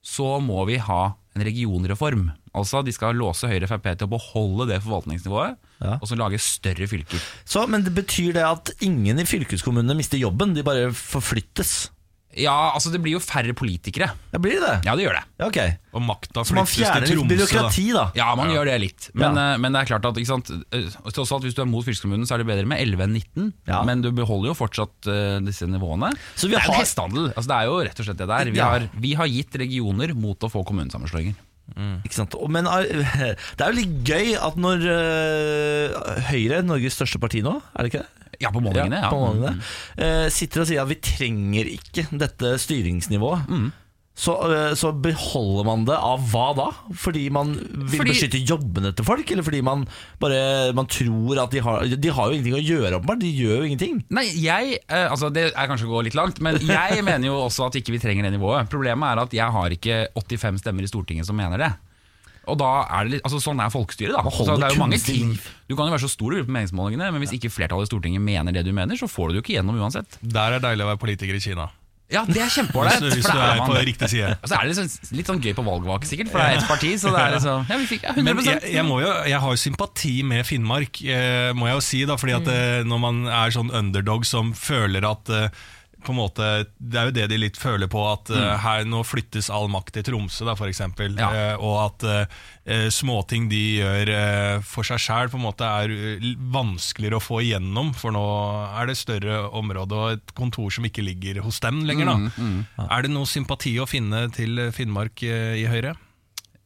S6: så må vi ha en regionreform. Altså de skal låse Høyre og Frp til å beholde det forvaltningsnivået,
S1: Ja.
S6: og så lage større fylker.
S1: så, Men det betyr det at ingen i fylkeskommunene mister jobben? De bare forflyttes?
S6: Ja, altså det blir jo færre politikere.
S1: Ja, blir det det?
S6: Ja, det gjør det.
S1: Ja, ok
S2: Og makta
S1: Så man
S2: flyttes
S1: fjerner
S2: til
S1: litt
S2: Tromsø
S1: byråkrati, da.
S6: Ja, man gjør det litt. Men,
S1: Ja.
S6: eh, men det er klart at ikke sant? eh, Tross alt, hvis du er mot fylkeskommunen, så er det bedre med 11 enn 19.
S1: Ja.
S6: Men du beholder jo fortsatt eh, disse nivåene.
S1: Så vi
S6: det er jo
S1: har-
S6: en hestehandel. Altså, det er jo rett og slett det der. Vi,
S1: Ja.
S6: har, vi har gitt regioner mot å få kommunesammenslåinger.
S1: Ikke sant? Og- Men er- det er jo litt gøy at når øh, Høyre, Norges største parti nå, er det ikke det?
S6: Ja, på målingene. Ja,
S1: på målingene, øh, sitter og sier at vi trenger ikke dette styringsnivået. Så, øh, så beholder man det av hva da? Fordi man vil
S6: Fordi-
S1: beskytte jobbene til folk? Eller fordi man bare man tror at de har De har jo ingenting å gjøre, åpenbart. De gjør jo ingenting.
S6: Nei, jeg, eh, altså Det er kanskje å gå litt langt, men [LAUGHS] jeg mener jo også at ikke vi trenger det nivået. Problemet er at jeg har ikke 85 stemmer i Stortinget som mener det. Og da er det litt, altså Sånn er folkestyret, da. Så
S1: holder
S6: det er jo mange
S1: kunstig
S6: ting.
S1: liv.
S6: Du kan jo være så stor du vil på meningsmålingene, men hvis ikke flertallet i Stortinget mener det du mener, så får du det jo ikke gjennom uansett.
S2: Der er det deilig å være politiker i Kina.
S6: Ja, det er kjempeålreit.
S2: Hvis,
S6: [LAUGHS]
S2: du- hvis
S6: for
S2: du
S6: da
S2: er
S6: man-
S2: på riktig side.
S6: Og så er det liksom, litt sånn gøy på valgvake, sikkert, for det er ett parti. Så det er liksom [LAUGHS] Ja, vi fikk ja, 100
S2: Men jeg, jeg, må jo, jeg har jo sympati med Finnmark, eh, må jeg jo si. da, fordi at eh, Når man er sånn underdog som føler at eh, på en måte, Det er jo det de litt føler på, at eh, her nå flyttes all makt til Tromsø, da, for eksempel,
S6: Ja.
S2: eh, Og at eh, eh, småting de gjør eh, for seg sjæl, er eh, vanskeligere å få igjennom. For nå er det større område og et kontor som ikke ligger hos dem lenger. da. Er det noe sympati å finne til Finnmark eh, i Høyre?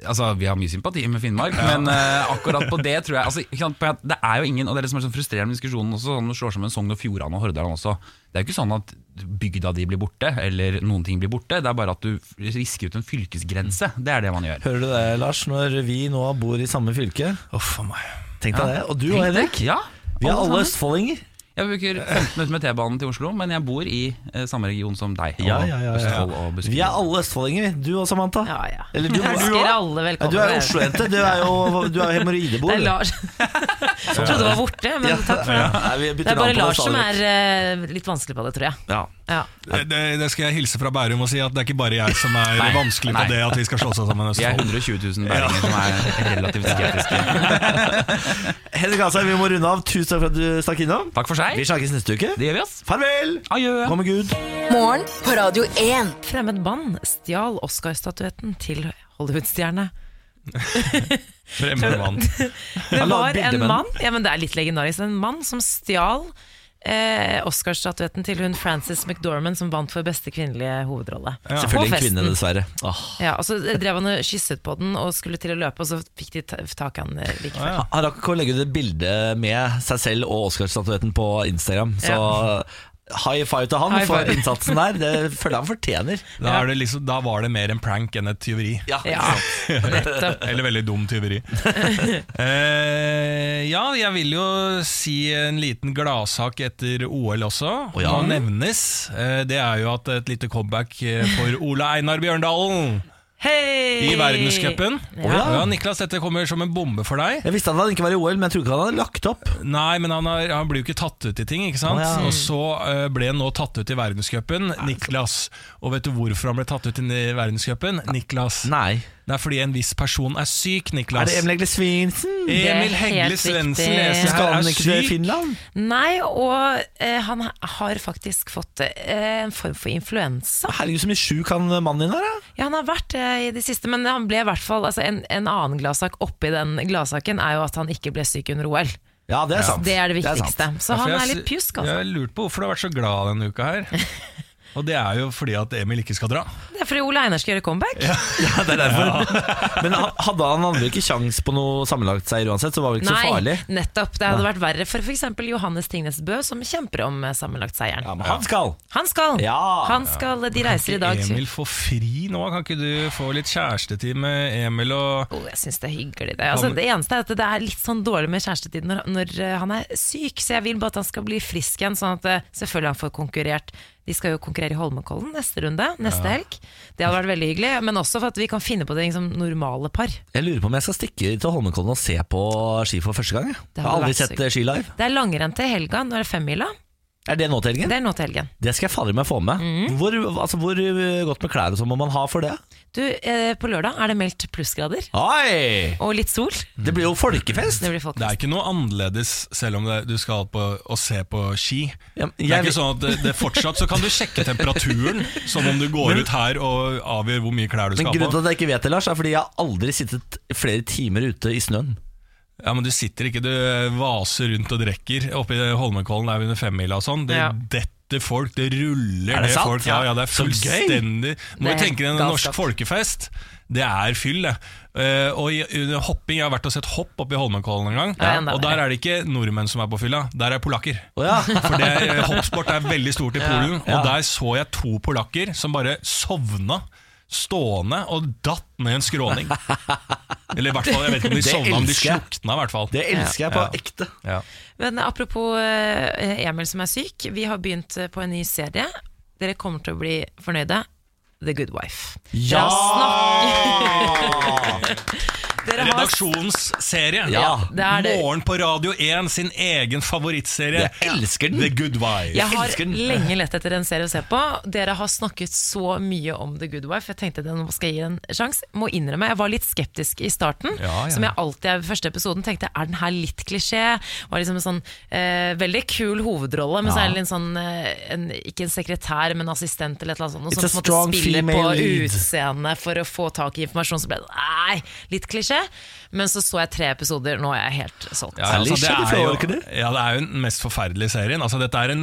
S6: Altså, Vi har mye sympati med Finnmark, men eh, akkurat på det tror jeg altså, ikke sant, på at Det er jo ingen, og det er det som er sånn frustrerende med diskusjonen også, sånn, når du slår sammen Sogn og Fjordane og Hordaland også. Det er jo ikke sånn at bygda di blir borte, eller noen ting blir borte. Det er bare at du risker ut en fylkesgrense. Det er det man gjør.
S1: Hører du det, Lars, når vi nå bor i samme fylke?
S2: Uff a meg.
S1: Tenk deg det. Og du og Henrik,
S6: Ja,
S1: vi er alle
S6: alle sammen.
S1: østfoldinger.
S6: Jeg bruker 15 minutter med T-banen til Oslo, men jeg bor i eh, samme region som deg. Og
S1: Ja, ja, ja, ja.
S6: Østfold og Buskerud.
S1: Vi er alle østfoldinger, vi. du og Samantha.
S3: Ja, ja.
S1: Eller du,
S3: Jeg
S1: du
S3: elsker
S1: også.
S3: alle
S1: Ja,
S3: velkommen.
S1: du er jo Oslo-jente. Du er jo, du er jo hemoroidebor.
S3: Det er Lars. [LAUGHS] Jeg trodde det var borte, men
S1: Ja,
S3: takk for det.
S1: ja, vi bytter
S3: Det er
S1: navn
S3: bare
S1: på
S3: Lars
S1: stadig
S3: som
S1: vekk.
S3: er eh, litt vanskelig på det, tror jeg.
S1: ja.
S3: Ja.
S2: Det, det- det skal jeg hilse fra Bærum og si at det er ikke bare jeg som [LAUGHS] er
S6: Nei,
S2: vanskelig på
S6: nei.
S2: det at vi skal slå seg sammen. i
S6: Vi er
S2: Østfold.
S6: 120 000 bæringer som er relativt skeptiske.
S1: Henrik Asheim, vi må runde av. Tusen takk for at du stakk innom.
S6: Takk for seg.
S1: Vi snakkes neste uke.
S6: Det gjør vi, ass.
S1: Farvel!
S6: Adjø.
S1: Gå med Gud.
S4: Morgen på Radio 1.
S3: Fremmed band stjal Oscar-statuetten til Hollywood-stjerne.
S2: Fremmed mann.
S3: Det
S1: Han la
S3: var
S1: ut bilder
S3: en
S1: med den.
S3: mann ja, men det er litt legendarisk, en mann som stjal eh, Oscar-statuetten til hun Frances McDormand, som vant for beste kvinnelige hovedrolle. På
S1: Selvfølgelig en
S3: festen.
S1: kvinne, dessverre. Åh.
S3: Ja, og så drev han og kysset på den og skulle til å løpe, og så fikk de ta- tak i han eh, like før.
S1: Han rakk ikke å legge ut et bilde med seg selv og Oscar-statuetten på Instagram. Så high five til han
S3: High
S1: for
S3: five.
S1: innsatsen der. Det føler jeg han fortjener.
S2: Da, er det liksom, da var det mer en prank enn et tyveri.
S1: Ja.
S3: Ja,
S1: [LAUGHS]
S3: nettopp.
S2: Eller veldig dum tyveri. Eh, ja, jeg vil jo si en liten gladsak etter OL også.
S1: Å ja.
S2: Må nevnes. Eh, det er jo at et lite comeback eh, for Ole Einar Bjørndalen
S3: Hei!
S2: i verdenscupen.
S3: Ja.
S2: Ja, Niklas, dette kommer som en bombe for deg.
S1: Jeg visste at han ikke var i OL, men jeg tror ikke han hadde lagt opp.
S2: Nei, men han, har, han blir jo ikke tatt ut i ting, ikke sant?
S1: Å, ja.
S2: Og så eh, ble han nå tatt ut i verdenscupen, Niklas. Og vet du hvorfor han ble tatt ut i verdenscupen? Niklas.
S1: Nei.
S2: Det er fordi en viss person er syk, Niklas.
S1: Er det Emil Egle Svinsen?
S3: er
S2: Emil
S3: helt
S2: Hegle
S3: riktig.
S2: Svendsen leser
S1: Skal
S2: her
S1: han
S2: er
S1: ikke til
S2: syk.
S1: Finland?
S3: Nei, og eh, han har faktisk fått eh, en form for influensa.
S1: Herregud, så mye sjuk han mannen din er. da.
S3: Ja, han har vært det i det siste, men han ble i hvert fall altså, en, en annen gladsak oppi den gladsaken er jo at han ikke ble syk under OL.
S1: Ja, det er sant.
S3: Det er det
S1: sant.
S3: viktigste.
S2: Ja,
S3: Så
S2: for
S3: han
S2: jeg
S3: er
S2: s-
S3: litt pjusk, altså.
S2: Jeg har lurt på hvorfor du har vært så glad denne uka
S3: [LAUGHS]
S2: her. Og det er jo fordi at Emil ikke skal dra.
S3: Det er fordi Ole Einar skal gjøre comeback.
S1: Ja, det er derfor. [LAUGHS] Men han- hadde han andre ikke sjans på noe sammenlagt seier uansett, så var det ikke så farlig.
S3: nettopp. Det hadde vært verre for f.eks. Johannes Tingnes Bø, som kjemper om eh, sammenlagtseieren.
S1: Ja, men han skal.
S3: Han skal!
S1: Ja.
S3: Han skal eh, De reiser i dag.
S2: Emil får fri nå, kan ikke du få litt kjærestetid med Emil og
S3: Oh, jeg syns det er hyggelig. Det. Altså, det eneste er at det er litt sånn dårlig med kjærestetid når, når eh, han er syk, så jeg vil bare at han skal bli frisk igjen, sånn at eh, selvfølgelig han får konkurrert. De skal jo konkurrere i Holmenkollen neste runde, neste helg. Det hadde vært veldig hyggelig, men også for at vi kan finne på det liksom, normale par.
S1: Jeg lurer på om jeg skal stikke til Holmenkollen og se på ski for første gang. Jeg, jeg
S3: Det hadde
S1: har aldri
S3: vært
S1: sett
S3: sykt.
S1: eh, ski live.
S3: Det er langrenn til helga, nå er det femmila.
S1: Er det nå til helgen?
S3: Det Mhm. er nå til helgen.
S1: Det skal jeg fader meg få med. Hvor, altså, hvor eh, godt med klær og sånn må man ha for det?
S3: Du, eh, på lørdag er det meldt plussgrader.
S1: Oi!
S3: Og litt sol.
S1: Det blir jo folkefest!
S3: Mm. Det blir folk.
S2: Det er ikke noe annerledes selv om det, du skal på, og se på ski.
S1: Ja, men
S2: det er
S1: jeg-
S2: ikke sånn at det, det er fortsatt så kan du sjekke temperaturen, som om du går ut her og avgjør hvor mye klær du
S1: Men
S2: skal ha
S1: grunnen til
S2: på.
S1: at jeg ikke vet det, Lars, er fordi jeg har aldri sittet flere timer ute i snøen.
S2: Ja, men Du sitter ikke, du vaser rundt og drikker oppe i Holmenkollen der under femmila og sånn. Det
S3: Ja.
S2: detter folk, det ruller
S1: Er det
S2: ned
S1: sant?
S2: folk. Ja, ja, det er
S1: Så gøy!
S2: fullstendig Må
S3: Det
S2: jo
S3: er
S2: tenke deg en
S3: galskap.
S2: norsk folkefest. Det er fyll, det. Eh, og i, under hopping, Jeg har vært og sett hopp oppe i Holmenkollen en gang.
S3: Ja, enda
S2: og
S3: verre.
S2: Der er det ikke nordmenn som er på fylla, der er polakker.
S1: Å ja.
S2: For det er, hoppsport er veldig stort i Polen, og der så jeg to polakker som bare sovna. Stående og datt ned en skråning. Eller i hvert fall, jeg vet ikke om de
S1: Det
S2: sovna, men de
S1: elsker jeg.
S2: slukna i hvert fall.
S3: [LAUGHS]
S1: Det elsker jeg på ekte.
S2: Ja.
S3: Men apropos eh, Emil som er syk, vi har begynt eh, på en ny serie. Dere kommer til å bli fornøyde. The Good Wife.
S1: Ja!
S3: Dere har snakket- Dere har-
S2: Redaksjonsserie.
S1: Ja,
S3: det er det.
S2: Morgen på Radio 1, sin egen favorittserie.
S1: Jeg elsker den.
S2: The Good Wife.
S3: Jeg har
S1: elsker den.
S3: lenge lett etter en serie å se på. Dere har snakket så mye om The Good Wife. Jeg tenkte den skal jeg gi en sjanse. Må innrømme, jeg var litt skeptisk i starten.
S2: Ja, ja.
S3: Som jeg alltid er ved første episoden tenkte er den her litt klisjé. Var liksom en sånn eh, veldig kul hovedrolle, men så er det en sånn eh, en, ikke en sekretær, men assistent eller et eller annet sånt.
S1: It's
S3: Noe
S1: a
S3: som måtte
S1: strong
S3: spille på
S1: female lead.
S3: utseendet for å få tak i informasjon. Så ble det nei, litt klisjé. Men så så jeg tre episoder, nå er jeg helt solgt.
S2: Ja,
S1: Ærlig,
S2: altså, det,
S1: skjer det fra
S2: er jo,
S1: år, ikke det?
S2: ja, det er jo den mest forferdelige serien. Altså, dette, er en,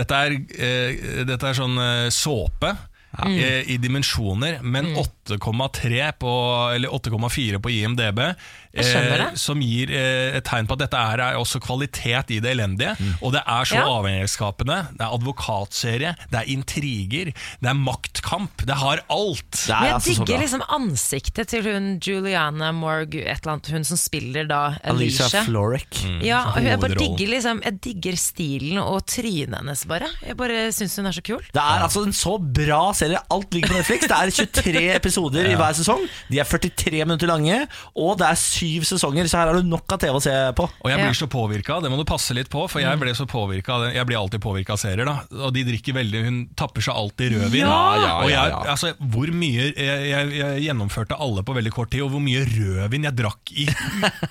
S2: dette, er, eh, dette er sånn eh, såpe eh,
S3: Mm.
S2: i dimensjoner, men 8,3 på Eller 8,4 på IMDb, eh,
S3: skjønner det.
S2: som gir eh, et tegn på at dette er, er også kvalitet i det elendige. Og det er så
S3: Mm. Ja.
S2: avhengighetsskapende. Det er advokatserie, det er intriger, det er maktkamp. Det har alt.
S1: Det
S3: Men
S1: er
S3: jeg
S1: altså så
S3: digger
S1: bra.
S3: liksom ansiktet til hun Juliana Morgue, et eller annet, hun som spiller da Alicia.
S1: Alicia Florek.
S3: ja, og hun, jeg, bare
S2: hovedrollen.
S3: digger liksom, jeg digger stilen og trynet hennes, bare. Jeg bare syns hun er så kul.
S1: Det er altså en så bra serie. Alt ligger på Netflix. Det er [LAUGHS] 23 episoder i hver sesong. De er 43 minutter lange, og det er syv sesonger, så her har du nok av TV å se på.
S2: Og jeg
S3: Ja. Mm.
S2: blir så påvirka, det må du passe litt på, for jeg ble så påvirket av det. Jeg blir alltid påvirka av serier, da. Og de drikker veldig Hun tapper seg alltid rødvin.
S3: Ja!
S2: Og jeg, altså, hvor mye jeg, jeg, jeg gjennomførte alle på veldig kort tid, og hvor mye rødvin jeg drakk i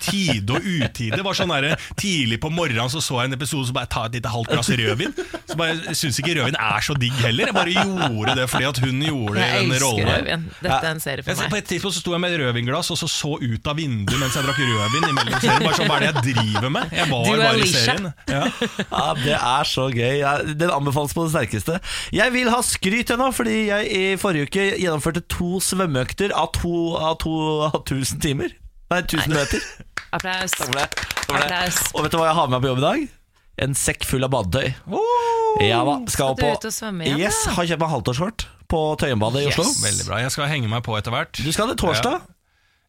S2: tide og utide. Det var sånn der, Tidlig på morgenen så, så jeg en episode så bare ta et lite halvt glass rødvin. Så bare jeg syns ikke rødvin er så digg heller. Jeg bare gjorde det fordi at hun gjorde det i
S3: Jeg
S2: den
S3: elsker
S2: rollen. der.
S3: rødvin. Dette er en serie
S2: Jeg,
S3: for
S2: på
S3: meg.
S2: et tidspunkt så sto jeg med et rødvinglass og så så ut av vinduet mens jeg drakk rødvin imellom serien. Bare sånn, Hva er det jeg driver med? Jeg var
S3: Du er
S2: bare i
S3: Alicia.
S2: serien.
S3: [LAUGHS]
S2: Ja.
S1: Ja, Det er så gøy. Ja, Den anbefales på det sterkeste. Jeg vil ha skryt ennå, fordi jeg i forrige uke gjennomførte to svømmeøkter av to av to av 1000 timer. Nei, 1000 meter.
S3: Applaus. Applaus.
S1: Og vet du hva jeg har med meg på jobb i dag? En sekk full av badetøy. Ja, hva, skal
S3: Oh! Skal du
S1: på
S3: ut og svømme igjen,
S1: Yes,
S3: da?
S1: har kjøpt meg halvtårsskjort på Tøyenbadet i
S3: Yes.
S1: Oslo.
S2: Veldig bra. Jeg skal henge meg på etter hvert.
S1: Du skal det torsdag?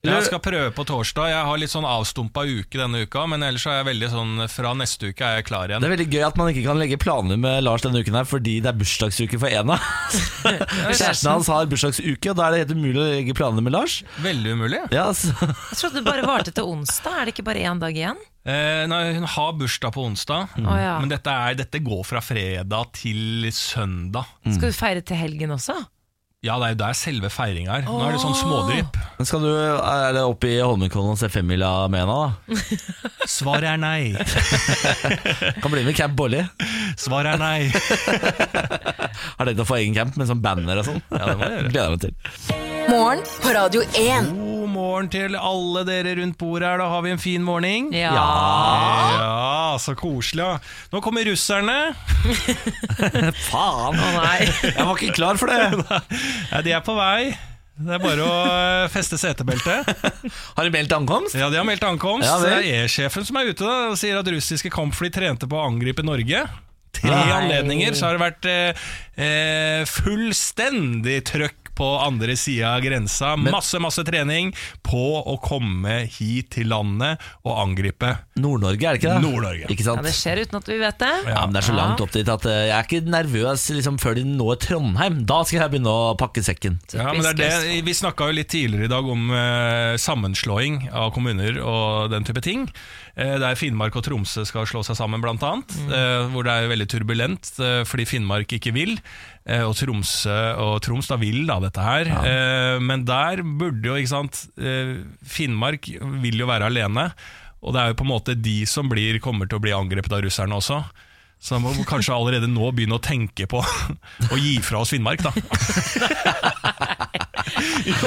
S2: Ja. Jeg skal prøve på torsdag. Jeg har litt sånn avstumpa uke denne uka, men ellers er jeg veldig sånn Fra neste uke er jeg klar
S1: Det
S2: igjen.
S1: er veldig gøy at man ikke kan legge planer med Lars denne uken her fordi det er bursdagsuke for Ena. Kjæresten hans har bursdagsuke, og da er det helt umulig å legge planer med Lars.
S2: Veldig umulig.
S1: Ja, så.
S3: Jeg trodde det bare varte til onsdag, er det ikke bare én dag igjen?
S2: Eh, nei, hun har bursdag på onsdag,
S3: Mm. Å, ja.
S2: men dette, er, dette går fra fredag til søndag.
S3: Skal du feire til helgen også?
S2: Ja, det er jo der selve feiringa er. Nå er det sånn smådrypp.
S1: Men Skal du, er det oppe i Holmenkollen og se femmila med Ena, da?
S2: [LAUGHS] Svaret er nei.
S1: [LAUGHS] Kan bli med i Camp Bolly.
S2: Svaret er nei.
S1: Har tenkt å få egen camp med sånn banner og sånn. Ja,
S2: det må jeg gjøre.
S1: Gleder meg til.
S4: Morgen på Radio 1.
S2: God morgen til alle dere rundt bordet her. Da har vi en fin morgen.
S3: Ja.
S2: Ja, så koselig. ja. Nå kommer russerne.
S1: Faen!
S3: Å nei.
S1: Jeg var ikke klar for det!
S2: Ja, de er på vei. Det er bare å eh, feste setebeltet.
S1: Har du meldt ankomst?
S2: Ja, De har meldt ankomst.
S1: Ja,
S2: det
S1: vel.
S2: er E-sjefen som er ute da, og sier at russiske kampfly trente på å angripe Norge. Tre anledninger så har det vært eh, eh, fullstendig trøkk på andre sida av grensa. masse, masse trening på å komme hit til landet og angripe.
S1: Nord-Norge, er det ikke det?
S2: Nord-Norge.
S1: Ikke
S3: Ja,
S1: sant?
S3: det skjer uten at vi vet det.
S1: Ja, men Det er så langt opp dit at eh, jeg er ikke nervøs liksom, før de når Trondheim. Da skal jeg begynne å pakke sekken.
S2: Ja, men det er det. Vi snakka jo litt tidligere i dag om eh, sammenslåing av kommuner og den type ting. Eh, der Finnmark og Tromsø skal slå seg sammen, blant annet. Eh, hvor det er veldig turbulent eh, fordi Finnmark ikke vil. Eh, og Tromsø og Troms da vil da dette her. Eh, men der burde jo, ikke sant eh, Finnmark vil jo være alene. Og det er jo på en måte de som blir, kommer til å bli angrepet av russerne også. Så da må vi kanskje allerede nå begynne å tenke på [LAUGHS] å gi fra oss Finnmark, da.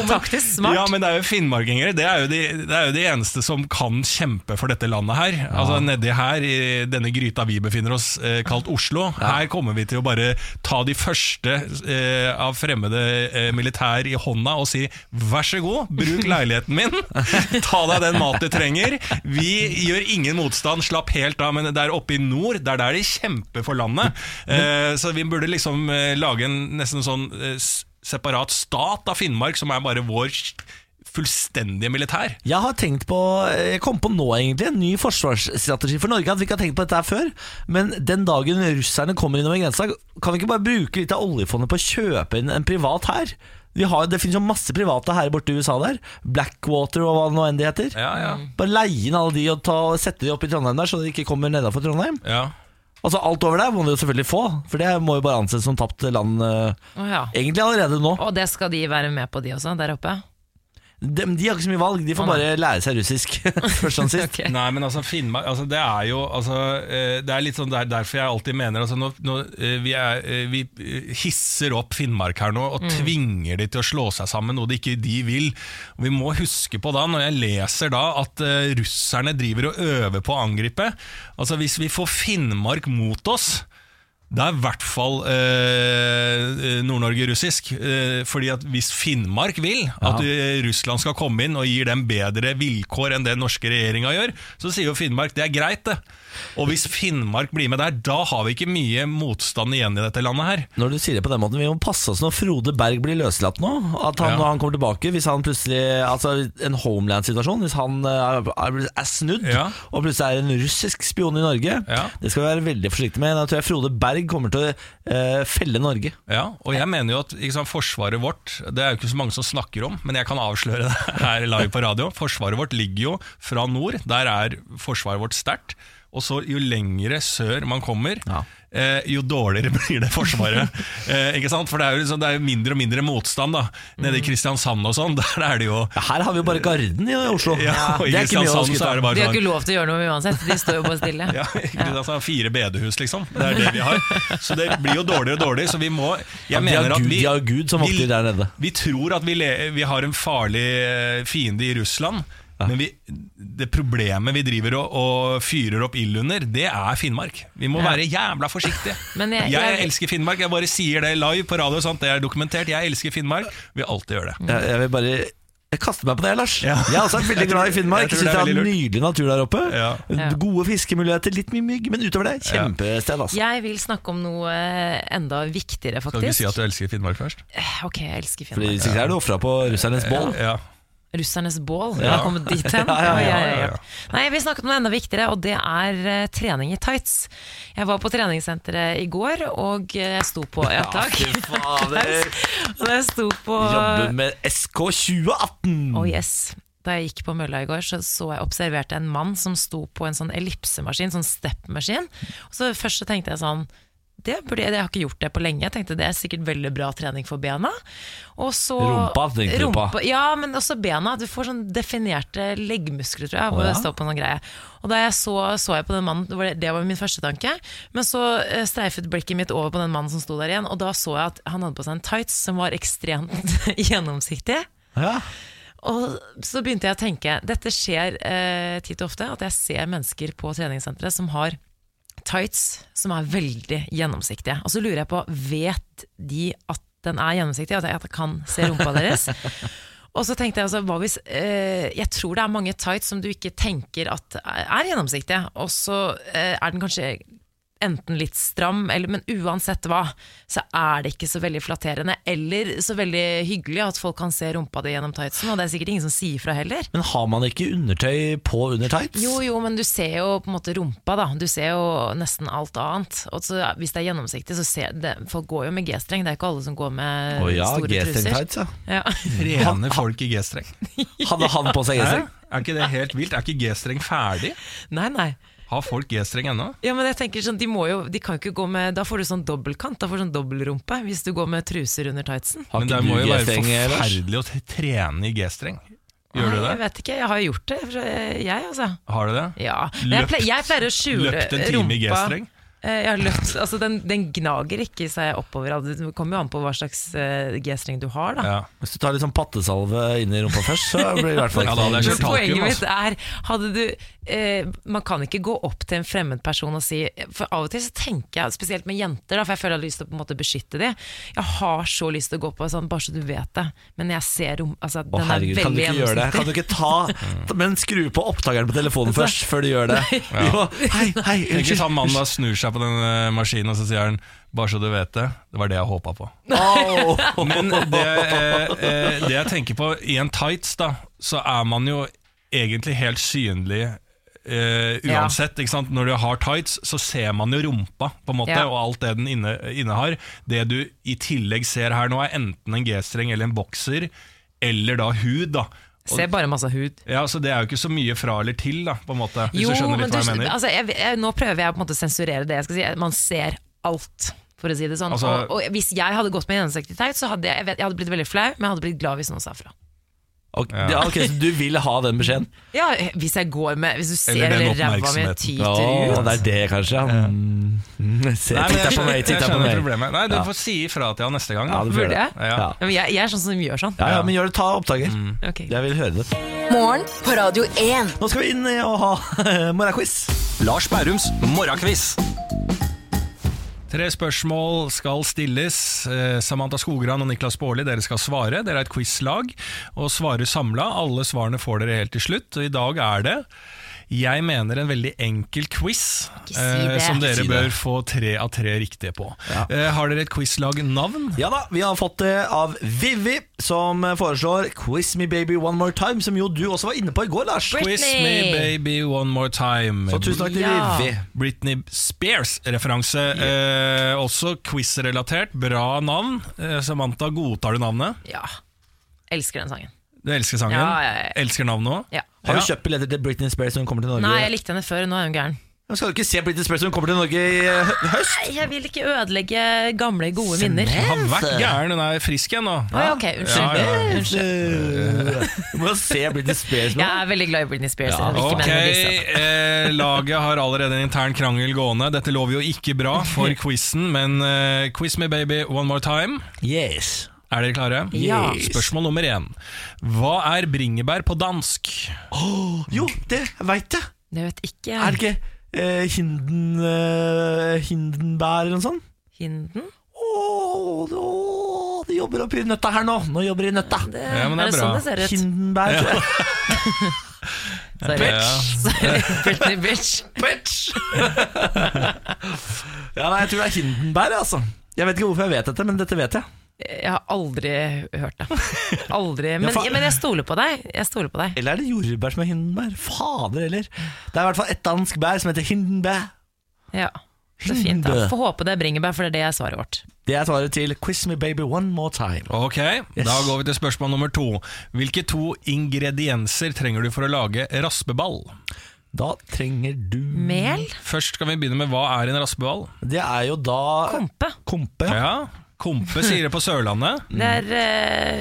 S3: Taktisk smart.
S2: Ja, men det er jo finnmarkinger. Det er jo, de, det er jo de eneste som kan kjempe for dette landet her. Altså Nedi her, i denne gryta vi befinner oss, eh, kalt Oslo, her kommer vi til å bare ta de første eh, av fremmede eh, militær i hånda og si vær så god, bruk leiligheten min, ta deg den mat du trenger. Vi gjør ingen motstand, slapp helt av, men det er oppe i nord, det er der de kjemper for landet. Eh, så vi burde liksom eh, lage en nesten sånn eh, s- separat stat av Finnmark, som er bare vår fullstendige militær.
S1: Jeg har tenkt på, eh, jeg kom på nå egentlig, en ny forsvarsstrategi for Norge. At vi ikke har tenkt på dette her før. Men den dagen russerne kommer innover grensa, kan vi ikke bare bruke litt av oljefondet på å kjøpe inn en privat hær? Vi har, det finnes jo masse private her borte i USA der. Blackwater og hva nå enn det heter.
S2: Ja, ja.
S1: Bare leie inn alle de og ta, og sette de opp i Trondheim der, så de ikke kommer nedenfor Trondheim.
S2: ja.
S1: Altså Alt over der må de jo selvfølgelig få, for det må jo bare anses som tapt land eh,
S3: Å ja.
S1: egentlig allerede nå.
S3: Og det skal de være med på, de også, der oppe?
S1: De, de har ikke så mye valg, de får
S3: Å, nei.
S1: bare lære seg russisk [LAUGHS] først og sist.
S3: Ok.
S2: Nei, men altså Finnmark altså, Det er jo altså, eh, Det er litt sånn der, derfor jeg alltid mener altså, nå, nå, eh, vi, er, eh, vi eh, hisser opp Finnmark her nå og tvinger de til å slå seg sammen, noe de ikke de vil. Og vi må huske på da, når jeg leser da at eh, russerne driver og øver på å angripe Altså Hvis vi får Finnmark mot oss det er i hvert fall eh, Nord-Norge russisk. Eh, fordi at hvis Finnmark vil at eh, Russland skal komme inn og gir dem bedre vilkår enn det norske regjeringa gjør, så sier jo Finnmark det er greit, det. Og hvis Finnmark blir med der, da har vi ikke mye motstand igjen i dette landet her.
S1: Når du sier det på den måten, vi må passe oss når Frode Berg blir løslatt nå. At han,
S2: Ja.
S1: når han kommer tilbake, hvis han plutselig Altså en homeland-situasjon, hvis han eh, er, er snudd
S2: Ja.
S1: og plutselig er en russisk spion i Norge,
S2: Ja.
S1: det skal vi være veldig forsiktige med. Da tror jeg Frode Berg kommer til å eh, felle Norge.
S2: Ja, og jeg mener jo at ikke sant, Forsvaret vårt Det er jo ikke så mange som snakker om, men jeg kan avsløre det [LAUGHS] her live på radio. Forsvaret vårt ligger jo fra nord. Der er forsvaret vårt sterkt. Og så Jo lengre sør man kommer,
S1: Ja.
S2: eh, jo dårligere [LAUGHS] blir det Forsvaret. eh, ikke sant? For det er jo liksom, det er jo mindre og mindre motstand da nede i Kristiansand og sånn. [LAUGHS] Der er det jo
S1: Ja, her har vi jo bare Garden i Oslo.
S2: ja, og I
S1: det er ikke mye å
S2: Kristiansand så
S1: skryte
S2: er det
S1: av.
S2: bare
S3: De har
S2: sånn
S3: ikke lov til å gjøre noe uansett, de står jo bare stille.
S2: [LAUGHS] ja, ikke sant? Altså, Fire bedehus, liksom. Det er det vi har. Så det blir jo dårligere og dårligere. Så vi må jeg
S1: Ja, de har
S2: mener
S1: Gud-
S2: at vi,
S1: de har Gud som
S2: vi-
S1: vokter der nede.
S2: Vi tror at vi, le, vi har en farlig eh, fiende i Russland. Men vi, det problemet vi driver og, og fyrer opp ild under, det er Finnmark. Vi må være jævla forsiktige.
S3: [LAUGHS] Men jeg-
S2: jeg,
S3: jeg-
S2: elsker Finnmark. Jeg bare sier det live på radio. Sant? Det er dokumentert. Jeg elsker Finnmark. Vi alltid gjør
S3: Mm.
S2: det.
S1: Jeg, jeg vil bare jeg kaster meg på det, Lars.
S2: Ja.
S1: Jeg er også veldig glad i Finnmark.
S2: Jeg tror
S1: Syns
S2: det
S1: det
S2: er
S1: er
S2: veldig lurt.
S1: nydelig natur der oppe.
S2: Ja.
S3: Ja.
S1: Gode fiskemuligheter, litt mye mygg, men utover det, kjempested. Altså.
S3: Jeg vil snakke om noe eh, enda viktigere,
S2: Skal du ikke si
S3: faktisk.
S2: at du elsker Finnmark først?
S3: Eh, Ok, jeg elsker
S1: Fordi
S3: Finnmark.
S1: Hvis ikke så er du ofra på russernes bål.
S2: Ja.
S3: Russernes bål, jeg har kommet dit hen.
S1: Ja, ja, ja,
S2: ja, ja.
S3: Nei, vi snakket om noe enda viktigere, og det er eh, trening i tights. Jeg var på treningssenteret i går, og eh, jeg sto på Ja, takk.
S1: fy fader.
S3: Og [LAUGHS] jeg sto på
S1: Jobber med SK 2018.
S3: Oh yes. Da jeg gikk på mølla i går, så, så jeg observerte en mann som sto på en sånn ellipsemaskin, sånn stepmaskin. Og så først så tenkte jeg sånn det burde jeg, jeg har ikke gjort det på lenge. Jeg tenkte Det er sikkert veldig bra trening for bena. Og så,
S1: Rumpa, tenkte du på.
S3: Rumpa- Ja, men også bena. Du får sånn definerte leggmuskler, tror jeg. Hvor
S1: Å, ja.
S3: det står på noen greie Og da jeg så, så jeg på den mannen, det var, det- det var min første tanke. Men så eh, streifet blikket mitt over på den mannen som sto der igjen, og da så jeg at han hadde på seg en tights som var ekstremt [LAUGHS] gjennomsiktig.
S1: Ja.
S3: Og så begynte jeg å tenke, dette skjer eh, titt og ofte, at jeg ser mennesker på treningssenteret som har tights som er veldig gjennomsiktige. Og så lurer jeg på, vet de at den er gjennomsiktig, at jeg at jeg kan se rumpa deres? Og så tenkte jeg altså, hva hvis eh, Jeg tror det er mange tights som du ikke tenker at er er gjennomsiktige, og så eh, er den kanskje enten litt stram, eller, men uansett hva, så er det ikke så veldig flatterende eller så veldig hyggelig at folk kan se rumpa di gjennom tightsen, og det er sikkert ingen som sier fra heller.
S1: Men har man ikke undertøy på under tights?
S3: Jo, jo, men du ser jo på en måte rumpa, da. Du ser jo nesten alt annet. Og så, hvis det er gjennomsiktig, så ser det Folk går jo med G-streng, det er ikke alle som går med
S1: Å ja,
S3: store
S1: G-streng
S3: truser.
S1: tights, ja.
S3: [LAUGHS] Ja.
S2: Rene folk i G-streng.
S1: Hadde han på seg G-streng?
S2: Er, er ikke det helt vilt? Er ikke G-streng ferdig?
S3: Nei, nei.
S2: Har folk G-streng ennå?
S3: Ja, men jeg tenker sånn, de må jo De kan jo ikke gå med Da får du sånn dobbeltkant, da får du sånn dobbeltrumpe, hvis du går med truser under tightsen.
S1: Har
S2: Men det
S1: ikke
S2: må
S1: du
S2: jo være
S1: G-streng, Lars?
S2: forferdelig å t- trene i G-streng. Gjør du
S3: Nei,
S2: det?
S3: Jeg vet ikke, jeg har jo gjort det, for, eh, jeg altså.
S2: Har du det?
S3: Ja, men jeg
S2: Løpt-
S3: pleier, jeg pleier å skjule
S2: løpt en time i
S3: rumpa.
S2: G-streng?
S3: Eh, Jeg har løpt, altså den, den gnager ikke seg oppover. altså Det kommer jo an på hva slags eh, G-streng du har. da.
S2: Ja.
S1: Hvis du tar litt sånn pattesalve inn i rumpa først, så blir det i hvert fall
S2: Ja, da hadde jeg
S3: Men
S2: kjørt talkum,
S3: Poenget mitt
S2: altså.
S3: er hadde du, eh, Man kan ikke gå opp til en fremmed person og si For av og til så tenker jeg, spesielt med jenter, da, for jeg føler jeg har lyst til å på en måte beskytte dem. Jeg har så lyst til å gå på sånn, bare så du vet det, men jeg ser rom, altså,
S1: Å
S3: den er
S1: herregud, kan du
S3: veldig
S1: ikke gjøre det? Kan du ikke ta Men skru på opptakeren på telefonen først, før du gjør det.
S2: [LAUGHS]
S1: Jo, hei, hei,
S2: Ikke
S1: unnskyld.
S2: sånn mannen da snur seg på den eh, maskinen og så sier han Bare så du vet det, det var det jeg håpa på. [LAUGHS]
S1: Au.
S2: Men
S3: [LAUGHS]
S2: det, eh, eh, det jeg tenker på, i en tights, da, så er man jo egentlig helt synlig eh,
S3: Ja.
S2: uansett. Ikke sant? Når du har tights, så ser man jo rumpa, på en måte,
S3: Ja.
S2: og alt det den inne, innehar. Det du i tillegg ser her nå, er enten en G-streng eller en bokser, eller da hud. da Og-
S3: Ser bare masse hud.
S2: ja, så Det er jo ikke så mye fra eller til, da, på en måte, hvis
S3: Jo,
S2: du skjønner
S3: men
S2: litt hva jeg
S3: du-
S2: mener.
S3: Altså, jeg, jeg, nå prøver jeg på en måte å sensurere det jeg skal si. Man ser alt, for å si det sånn.
S2: Altså-
S3: og, og hvis jeg hadde gått med gjennomsiktig tight, så hadde jeg, jeg, vet, jeg hadde blitt veldig flau, men jeg hadde blitt glad hvis noen sa fra.
S1: Ok, ja, ok, Så du vil ha den beskjeden?
S3: Ja, hvis jeg går med Hvis du ser
S2: Eller den
S3: hele ræva mi
S2: oppmerksomheten.
S3: tyter
S1: Ja,
S3: ut.
S1: det er det, kanskje? ja. Mm. Mm, Se,
S2: Nei, men
S1: titta
S2: jeg
S1: på meg,
S2: skjønner, jeg
S1: titta på
S2: skjønner
S1: meg.
S2: problemet. Nei, Du
S1: Ja.
S2: får si ifra til han neste gang. Da.
S1: Ja, du får
S3: Burde
S1: gjøre
S3: jeg?
S1: det. Ja.
S3: Ja, men jeg, jeg er sånn som gjør sånn.
S1: Ja, ja, men gjør det, ta oppdager.
S2: Mm.
S3: Ok.
S1: Jeg vil høre det.
S4: Morgen på Radio 1.
S1: Nå skal vi inn eh, og ha [LAUGHS] morgenquiz.
S5: Lars Bærums morgenkviss.
S2: Tre spørsmål skal stilles. Eh, Samantha Skogran og Niklas Baarli, dere skal svare. Dere er et quizlag og svarer samla. Alle svarene får dere helt til slutt. Og i dag er det jeg mener en veldig enkel quiz eh,
S3: Ikke si det.
S2: som
S1: Ikke
S2: dere
S1: si det.
S2: bør få tre av tre riktige på. Eh, har dere et quizlag-navn?
S1: Ja da, Vi har fått det av Vivi, som eh, foreslår 'Quiz me baby one more time', som jo du også var inne på i går, Lars.
S3: Britney!
S2: Quiz me baby one more time.
S1: Så tusen takk til
S3: Ja.
S1: Vivi.
S2: Britney Spears-referanse. Eh, også quiz-relatert. Bra navn. Eh, Samantha, godtar du navnet?
S3: Ja. Elsker den sangen.
S2: Du elsker sangen?
S3: Ja, ja, ja.
S2: Elsker navnet òg?
S3: Ja.
S1: Har du kjøpt billetter til Britney Spears når hun kommer til Norge?
S3: Nei, jeg likte henne før, nå er hun gæren.
S1: Men Skal du ikke se Britney Spears når hun kommer til Norge i eh, hø- høst?
S3: Nei, Jeg vil ikke ødelegge gamle, gode minner.
S2: Hun har vært gæren, hun er frisk igjen nå.
S3: Å, ja, ok,
S2: Ja,
S3: unnskyld.
S2: ja.
S3: unnskyld.
S1: [LAUGHS] Du må jo se Britney Spears nå.
S3: Jeg er veldig glad i Britney Spears. jeg vil ikke
S2: Ok,
S3: mene noe altså. disse.
S2: eh, Laget har allerede en intern krangel gående. Dette lover jo ikke bra
S3: [LAUGHS]
S2: for quizen, men eh, quiz me baby one more time.
S1: Yes.
S2: Er dere klare?
S3: Ja.
S2: Spørsmål nummer én. Hva er bringebær på dansk?
S1: [GASPS] Jo, det veit jeg.
S3: Det vet ikke
S1: Er det
S3: jeg.
S1: ikke eh, hinden, eh, Hindenbær eller noe sånt?
S3: Hinden?
S1: Åh, åh, de jobber oppi nøtta her nå. Nå jobber de i nøtta.
S3: Det,
S2: Ja, men det er
S3: er,
S2: bra.
S3: det sånn det ser ut?
S1: Hindenbær.
S3: Sorry. Sorry. Britney bitch.
S1: [LAUGHS] Bitch! [LAUGHS] ja, nei, jeg tror det er Hindenbær, altså. Jeg vet ikke hvorfor jeg vet dette, men dette vet jeg.
S3: Jeg har aldri hørt det. Aldri. Men,
S1: fa-
S3: men jeg stoler på deg. Jeg stoler på deg.
S1: Eller er det jordbær som er Hindenbær? Fader heller. Det er i hvert fall et dansk bær som heter Hindenbær.
S3: Ja. Så fint. da. Får håpe det er bringebær, for det er det jeg svaret vårt.
S1: Det er svaret til Quiz me baby one more time.
S2: Ok, Da går vi til spørsmål nummer to. Hvilke to ingredienser trenger du for å lage raspeball?
S1: Da trenger du
S3: Mel?
S2: Først skal vi begynne med hva er en raspeball?
S1: Det er jo da
S3: Kompe?
S1: Kompe. ja.
S2: Ja, Kompe sier det på Sørlandet.
S1: Mm.
S3: Det er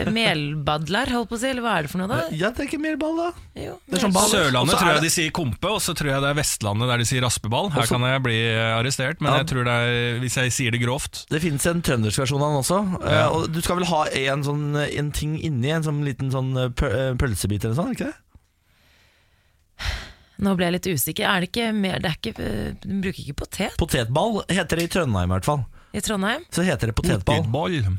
S3: eh, melbadler, holdt på å si. Eller hva er det for noe, da?
S1: Jeg tenker mer ball, da.
S3: Jo,
S1: Det er sånn ball. Og
S2: Sørlandet
S1: så er
S2: tror jeg
S1: det-
S2: de sier kompe, og så tror jeg det er Vestlandet der de sier raspeball. Her
S1: Også-
S2: kan jeg bli eh, arrestert, men
S1: Ja.
S2: jeg tror det er, hvis jeg sier det grovt
S1: Det finnes en trøndersk versjon av den også. eh, og du skal vel ha en, sånn, en ting inni, en sånn liten sånn eh, pø- eh, pølsebit eller sånn, er det ikke det? sånn-
S3: Nå ble jeg litt usikker. Er det ikke mer det er ikke, eh, Den bruker ikke potet
S1: Potetball heter det i Trøndheim i hvert fall.
S3: i Trondheim.
S1: Så heter det potetball.
S2: Potetball.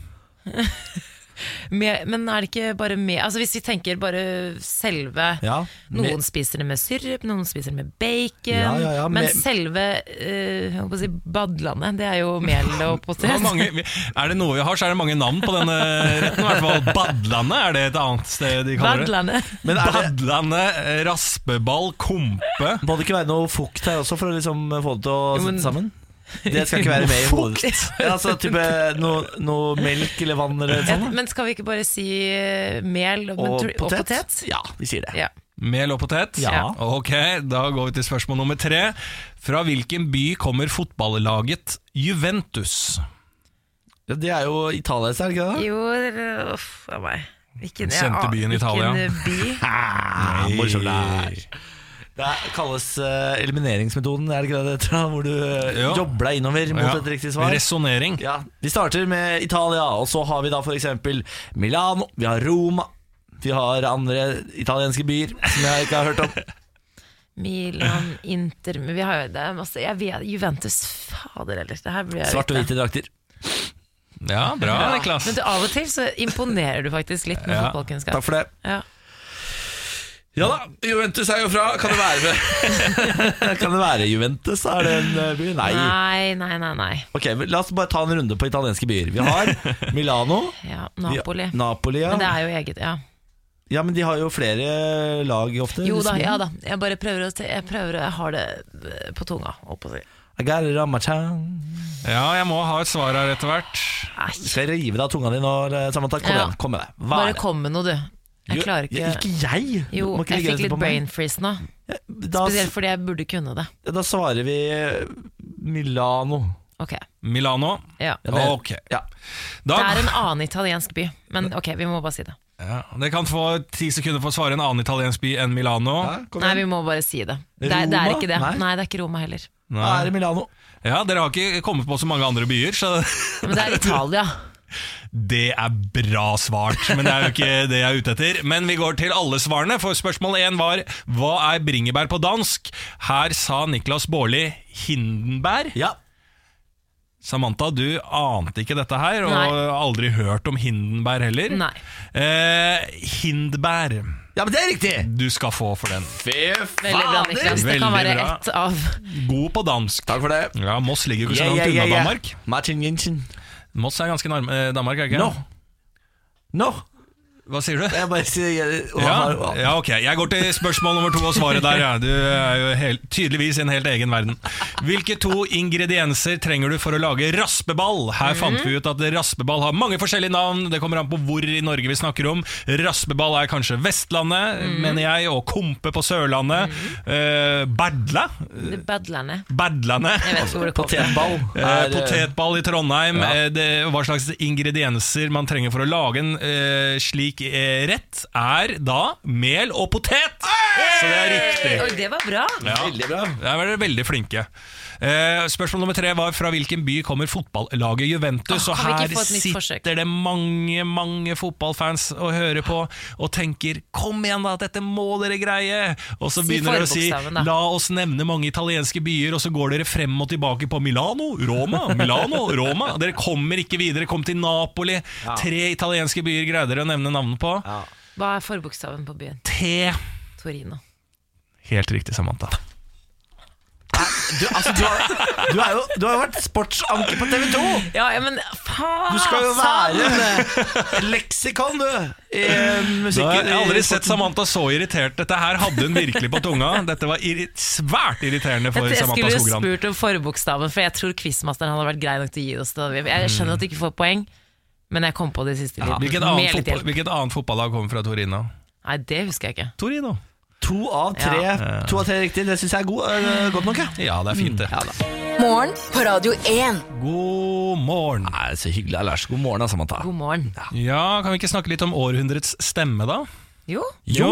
S3: Mer, men er det ikke bare med Altså Hvis vi tenker bare selve
S1: Ja,
S3: Noen
S1: med-
S3: spiser det med syrup, noen spiser det med bacon.
S1: Ja, ja, ja,
S3: men
S1: med-
S3: selve eh, jeg holdt på å si, badlandet, det er jo mel og
S2: Det
S3: potet.
S2: er,
S3: [LAUGHS]
S2: mange, er det noe vi har, så er det mange navn på denne retten. I hvert fall Badlandet er det et annet sted de kaller det.
S3: Badlandet.
S1: Men er det-
S2: Badlandet, eh, raspeball, kompe
S1: Må det ikke være noe fukt her også, for å liksom få det til å
S3: Jo, men-
S1: sitte sammen? Det skal ikke være med i hodet. Ja, altså type noe, noe melk eller vann eller sånn. da.
S3: [LAUGHS] Men skal vi ikke bare si eh, mel og, men
S1: Og
S3: tror- og potet?
S1: potet. Ja, vi sier det.
S3: Ja.
S2: Mel og potet?
S1: Ja.
S2: Ok, da går vi til spørsmål nummer tre. Fra hvilken by kommer fotballaget Juventus?
S1: Ja, det er jo italiensk, er det ikke det?
S3: Jo, eller- uff a meg.
S2: Den
S3: Hvilken,
S2: sendte
S3: jeg aner-
S2: byen Italia.
S3: hvilken by?
S1: Ah, morsomt der. Det er- kalles eh, elimineringsmetoden, er det ikke det det heter? da? Hvor du eh,
S2: Ja.
S1: jobber deg innover mot et riktig svar.
S2: Resonering.
S1: Ja, Vi starter med Italia, og så har vi da f.eks. Milano, vi har Roma. Vi har andre italienske byer som jeg ikke har hørt
S3: [LAUGHS]
S1: om.
S3: Milan, Inter men Vi har jo det er masse jeg vet, Juventus, fader heller. Det her blir jeg
S1: Svart og
S3: ute.
S1: hvite drakter.
S2: Ja, bra, Niklas.
S3: Men du, av og til så imponerer du faktisk litt med
S2: Ja.
S1: Takk
S3: fotballkunnskap.
S1: for det.
S3: Ja.
S1: Ja da, Juventus er jo fra. Kan det være [LAUGHS] Kan det være Juventus? Er det en eh, by? Nei.
S3: Nei, nei, nei. nei.
S1: Ok, men La oss bare ta en runde på italienske byer. Vi har Milano.
S3: Ja,
S1: vi-
S3: Napoli.
S1: Napoli ja.
S3: Men det er jo eget, ja.
S1: Ja, men de har jo flere lag ofte.
S3: Jo da,
S1: liksom.
S3: ja da. Jeg bare prøver å Jeg, prøver, å- jeg har det eh, på tunga, holdt på å si.
S1: I got it on my tongue.
S2: Ja, jeg må ha et svar her etter hvert.
S1: Du skal rive deg av tunga di nå, Samantha. Kom
S3: Ja.
S1: igjen, kom med deg. Hva er
S3: Bare
S1: det?
S3: kom med noe, du. Jeg
S1: Jo,
S3: klarer
S1: ja,
S3: ikke
S1: Ikke jeg! Du
S3: Jo,
S1: må ikke
S3: jeg
S1: legge
S3: fikk
S1: dette
S3: litt
S1: på meg. altså.
S3: brain freeze nå.
S1: Da,
S3: Spesielt fordi jeg burde kunne det.
S1: da svarer vi eh, Milano.
S3: Ok,
S2: Milano.
S3: ja
S1: Ja, det-
S2: Ok.
S1: Ja.
S2: Da,
S3: Det er en annen italiensk by, men ok, vi må bare si det.
S2: ja, dere kan få ti sekunder for å svare en annen italiensk by enn Milano.
S1: Ja, kom
S3: Nei,
S1: igjen.
S3: vi må bare si det. Det er, det er
S1: Roma?
S3: ikke det.
S1: Nei.
S3: Nei, det er ikke Roma heller.
S1: Da er det Milano.
S2: Ja, Dere har ikke kommet på så mange andre byer, så [LAUGHS]
S3: Men det er Italia.
S2: det er bra svart. Men det er jo
S1: [LAUGHS]
S2: ikke det jeg er ute etter. Men vi går til alle svarene, for spørsmål én var hva er bringebær på dansk? Her sa Niklas Baarli Hindenbær.
S1: Ja.
S2: Samantha, du ante ikke dette her, og
S3: Nei.
S2: aldri hørt om Hindenbær heller.
S3: Nei.
S2: Eh, Hindbær
S1: ja, men det er riktig!
S2: du skal få for den.
S3: Veldig bra, Niklas. Det
S2: Veldig
S3: kan være
S2: bra.
S3: ett av
S2: God på dansk.
S1: Takk for det.
S2: Ja, Moss ligger jo ikke så
S1: Yeah,
S2: langt
S1: yeah,
S2: unna
S1: yeah, yeah.
S2: Danmark.
S1: Martin Jensen.
S2: Moss er ganske nærme eh, Danmark, er ikke
S1: No. No!
S2: Hva sier du?
S1: Jeg bare sier jeg,
S2: Ja, ja, ok. Jeg går til spørsmål nummer to og svaret der. Ja. Du er jo helt, tydeligvis i en helt egen verden. Hvilke to ingredienser trenger du for å lage raspeball? Her fant vi ut at raspeball har mange forskjellige navn. Det kommer an på hvor i Norge vi snakker om. Raspeball er kanskje Vestlandet, mener jeg, og Kompe på Sørlandet. Eh, Badla?
S3: Badlandet.
S2: Badlandet.
S3: Jeg vet ikke hvor det kommer fra.
S1: Potetball.
S2: Eh,
S1: er, eh,
S2: potetball i Trondheim,
S1: Ja.
S2: eh, det, hva slags ingredienser man trenger for å lage en eh, slik eh, rett, er da mel og potet! Så det er riktig.
S3: Oi, det var bra.
S1: Veldig bra.
S2: Der var dere veldig flinke. Eh, spørsmål nummer tre var fra hvilken by kommer fotballaget Juventus?
S3: Åh,
S2: og
S3: Ah, kan vi ikke
S2: her
S3: få et nytt forsøk?
S2: sitter det mange mange fotballfans og hører på og tenker 'kom igjen, da, dette må dere greie'. Og så
S3: Si
S2: begynner dere å si
S3: forbokstaven, da.
S2: 'la oss nevne mange italienske byer', og så går dere frem og tilbake på Milano, Roma, Milano, Roma. Dere kommer ikke videre. Kom til Napoli. Tre italienske byer greide dere å nevne navnet på.
S3: Hva er forbokstaven på byen?
S2: T.
S3: Torino.
S2: Helt riktig, Samantha.
S1: Du, altså, du, har, du, er jo, du har jo vært sportsanker på TV 2!
S3: Ja, ja, men faen! altså.
S1: Du skal jo
S3: sant!
S2: sånn.
S1: være leksikon, du! I eh,
S2: Da har
S1: musikken.
S2: jeg aldri sett Samantha så irritert. Dette her hadde hun virkelig på tunga. Dette var irri svært irriterende for
S3: Jeg, jeg
S2: Samantha
S3: skulle jo
S2: Skogran.
S3: spurt om forbokstaven, for jeg tror quizmasteren hadde vært grei nok til å gi oss det. Jeg skjønner at du ikke får poeng, men jeg kom på det i siste liten.
S2: Hvilket annet,
S3: Med litt
S2: fotball,
S3: hjelp.
S2: hvilket annet fotballag kommer fra Torino?
S3: Nei, det husker jeg ikke.
S2: Torino.
S1: To av tre, to av tre riktig. Det syns jeg er god, eh, godt nok, ja.
S2: Ja, det er fint, det.
S4: Morgen på Radio 1.
S2: God morgen.
S1: Nei, så hyggelig. Lars, god morgen, altså, Samantha.
S3: God morgen.
S2: Ja, Kan vi ikke snakke litt om århundrets stemme, da?
S3: Jo,
S2: Jo,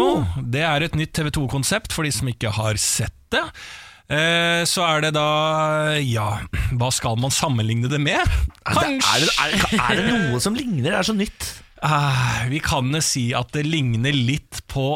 S2: det er et nytt TV 2-konsept for de som ikke har sett det. Eh, Så er det da Ja, hva skal man sammenligne det med?
S1: Er det, er, er det noe som ligner? Det er så nytt.
S2: Ah, vi kan jo si at det ligner litt på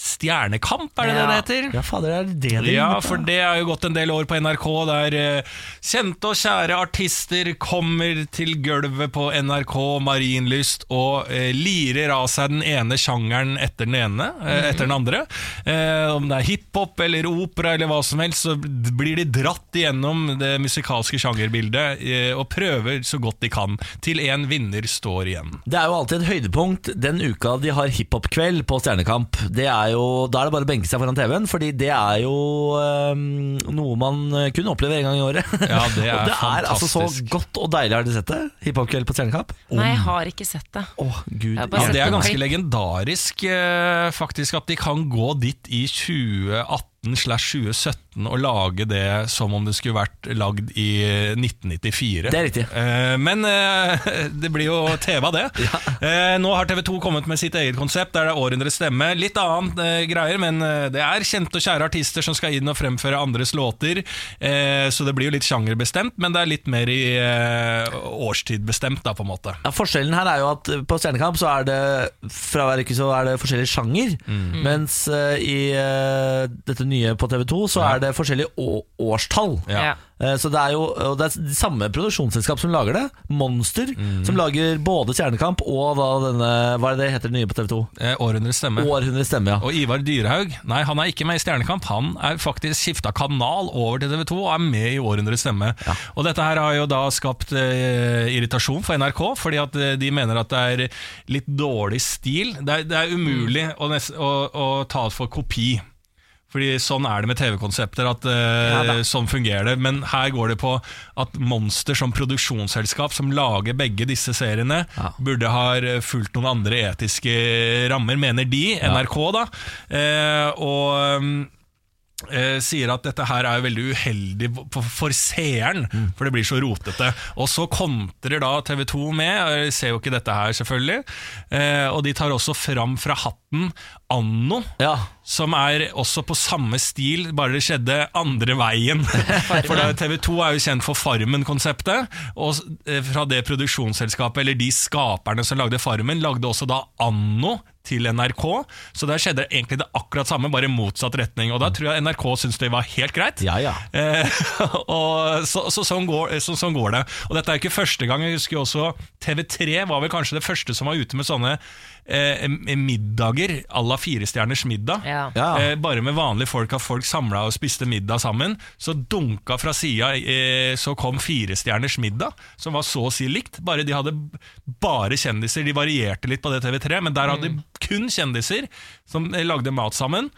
S2: Stjernekamp, er det det det heter?
S1: Ja, fader, er det det det
S2: Ja,
S1: ligner på?
S2: for det er jo gått en del år på NRK, der eh, kjente og kjære artister kommer til gulvet på NRK Marienlyst og eh, lirer av seg den ene sjangeren etter den ene,
S1: Mhm.
S2: eh, etter den andre. Eh, om det er hiphop eller opera eller hva som helst, så d- blir de dratt igjennom det musikalske sjangerbildet eh, og prøver så godt de kan, til en vinner står igjen.
S1: Det er jo alltid et høydepunkt den uka de har hiphop-kveld på Stjernekamp. Det er jo, da er det bare å benke seg foran TV-en, fordi det er jo øhm, noe man kun opplever en gang i året.
S2: Ja, det er
S1: [LAUGHS] og det er altså så
S2: fantastisk.
S1: godt og deilig, har dere sett det? Hiphop-kveld på Stjernekamp.
S3: nei, jeg har ikke sett det.
S1: Å, gud.
S3: Jeg har bare
S2: Ja,
S1: Ja,
S3: sett
S2: det er
S3: på
S2: ganske
S3: klipp.
S2: legendarisk eh, faktisk at de kan gå dit i 2018-2017 og lage det som om det skulle vært lagd i 1994.
S1: Det er riktig.
S2: Eh, men eh, [LAUGHS] det blir jo TV av det. Eh, nå har TV 2 kommet med sitt eget konsept, der det er århundrets stemme. Litt annet eh, greier, men eh, det er kjente og kjære artister som skal inn og fremføre andres låter. Eh, så det blir jo litt sjangerbestemt, men det er litt mer i eh, årstidbestemt, da, på en måte.
S1: Ja, forskjellen her er jo at på Stjernekamp så er det fra hver
S2: Mm.
S1: uke så er det forskjellig sjanger, mens eh, i eh, dette nye på TV 2 så er er det forskjellige å- årstall.
S3: Ja.
S1: Eh, Så det er jo og det er samme produksjonsselskap som lager det, Monster, som lager både Stjernekamp og da denne Hva er det heter det nye på TV 2?
S2: Eh, Århundrets stemme.
S1: Århundrets stemme, ja.
S2: Og Ivar Dyrhaug nei, han er ikke med i Stjernekamp. Han er faktisk skifta kanal over til TV 2 og er med i Århundrets stemme. Og Dette her har jo da skapt eh, irritasjon for NRK, fordi at eh, de mener at det er litt dårlig stil. Det er, det er umulig å, nes- å, å ta for kopi. Fordi Sånn er det med TV-konsepter. at eh, Sånn fungerer det. Men her går det på at Monster som produksjonsselskap, som lager begge disse seriene, burde ha eh, fulgt noen andre etiske rammer, mener de, NRK, da. Eh, og mm, eh, sier at dette her er jo veldig uheldig for, for seeren, for det blir så rotete. Og så kontrer da TV 2 med, eh, ser jo ikke dette her selvfølgelig, eh, og de tar også fram fra hatten Anno,
S1: Ja.
S2: som er også på samme stil, bare det skjedde andre veien. For da, TV 2 er jo kjent for Farmen-konseptet, og s- eh, fra det produksjonsselskapet, eller de skaperne som lagde Farmen, lagde også da Anno til NRK, så der skjedde egentlig det akkurat samme, bare i motsatt retning, og da tror jeg NRK syntes det var helt greit.
S1: Ja, ja.
S2: Eh, [LAUGHS] og så, så, sånn, går, så, sånn går det. Og dette er jo ikke første gang. Jeg husker jo også TV3 var vel kanskje det første som var ute med sånne eh, middager à la Firestjerners middag.
S3: Ja.
S1: Ja.
S2: Eh, bare med vanlige folk, at folk samla og spiste middag sammen. Så dunka fra sida, eh, så kom Firestjerners middag, som var så å si likt. Bare de hadde b- bare kjendiser. De varierte litt på det TV3, men der hadde
S1: Mm.
S2: de kun kjendiser som eh, lagde mat sammen.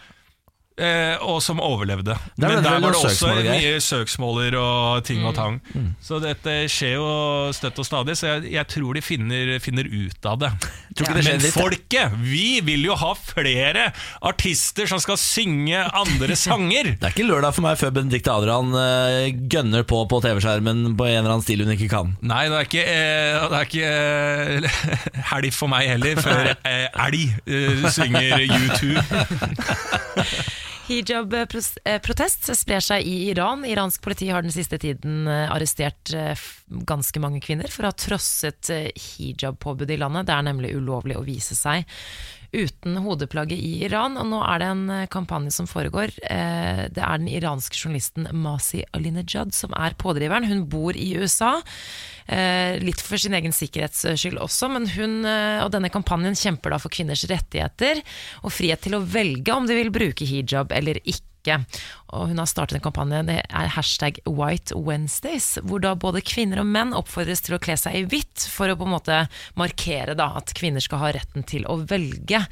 S2: Eh, og som overlevde.
S1: er
S2: Men
S1: vel
S2: der
S1: noen
S2: var det også
S1: søksmål og greier.
S2: mye søksmåler og ting og tang. Så dette skjer jo støtt og stadig, så jeg, jeg tror de finner, finner ut av det.
S1: Tror ikke det skjer
S2: Men
S1: litt-
S2: folket, vi vil jo ha flere artister som skal synge [LAUGHS] andre sanger!
S1: Det er ikke lørdag for meg før Benedicte Adrian eh, gønner på på TV-skjermen på en eller annen stil hun ikke kan.
S2: Nei, det er ikke, eh, det er ikke eh, [LAUGHS] helg for meg heller, før [LAUGHS] eh, elg eh, synger U2.
S3: Hijab-protest sprer seg i Iran. Iransk politi har den siste tiden eh, arrestert eh, f- ganske mange kvinner for å ha trosset eh, hijab-påbudet i landet. Det er nemlig ulovlig å vise seg uten hodeplagget i Iran. Og nå er det en eh, kampanje som foregår. Eh, Det er den iranske journalisten Masi Alinejad som er pådriveren. Hun bor i USA. Eh, litt for sin egen sikkerhets eh, skyld også, men hun eh, og denne kampanjen kjemper da for kvinners rettigheter og frihet til å velge om de vil bruke hijab eller ikke. Og hun har startet en kampanje, det er hashtag White Wednesdays, hvor da både kvinner og menn oppfordres til å kle seg i hvitt for å på en måte markere da at kvinner skal ha retten til å velge.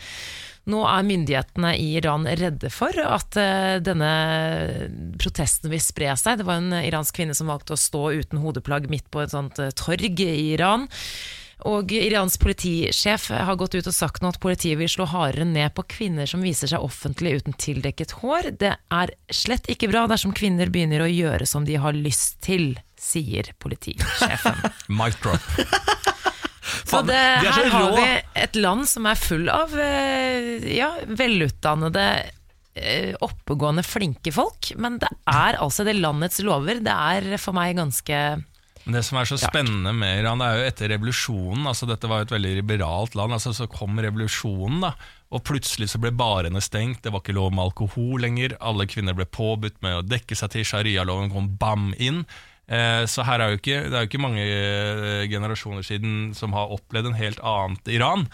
S3: Nå er myndighetene i Iran redde for at eh, denne protesten vil spre seg. Det var en iransk kvinne som valgte å stå uten hodeplagg midt på et sånt eh, torg i Iran. Og Irans politisjef har gått ut og sagt nå at politiet vil slå hardere ned på kvinner som viser seg offentlig uten tildekket hår. Det er slett ikke bra dersom kvinner begynner å gjøre som de har lyst til, sier politisjefen.
S2: Mic drop.
S3: Så
S1: Faen,
S3: det,
S1: de er så
S3: her har
S1: rå.
S3: vi et land som er full av eh, ja, velutdannede, eh, oppegående, flinke folk. Men det er altså det landets lover. Det er for meg ganske
S2: Men Det som er så spennende med Iran, det er jo etter revolusjonen altså Dette var jo et veldig liberalt land, altså så kom revolusjonen, da. Og plutselig så ble barene stengt, det var ikke lov med alkohol lenger. Alle kvinner ble påbudt med å dekke seg til, sharialoven kom bam inn. Eh, Så her er jo ikke, det er jo ikke mange eh, generasjoner siden som har opplevd en helt annet Iran.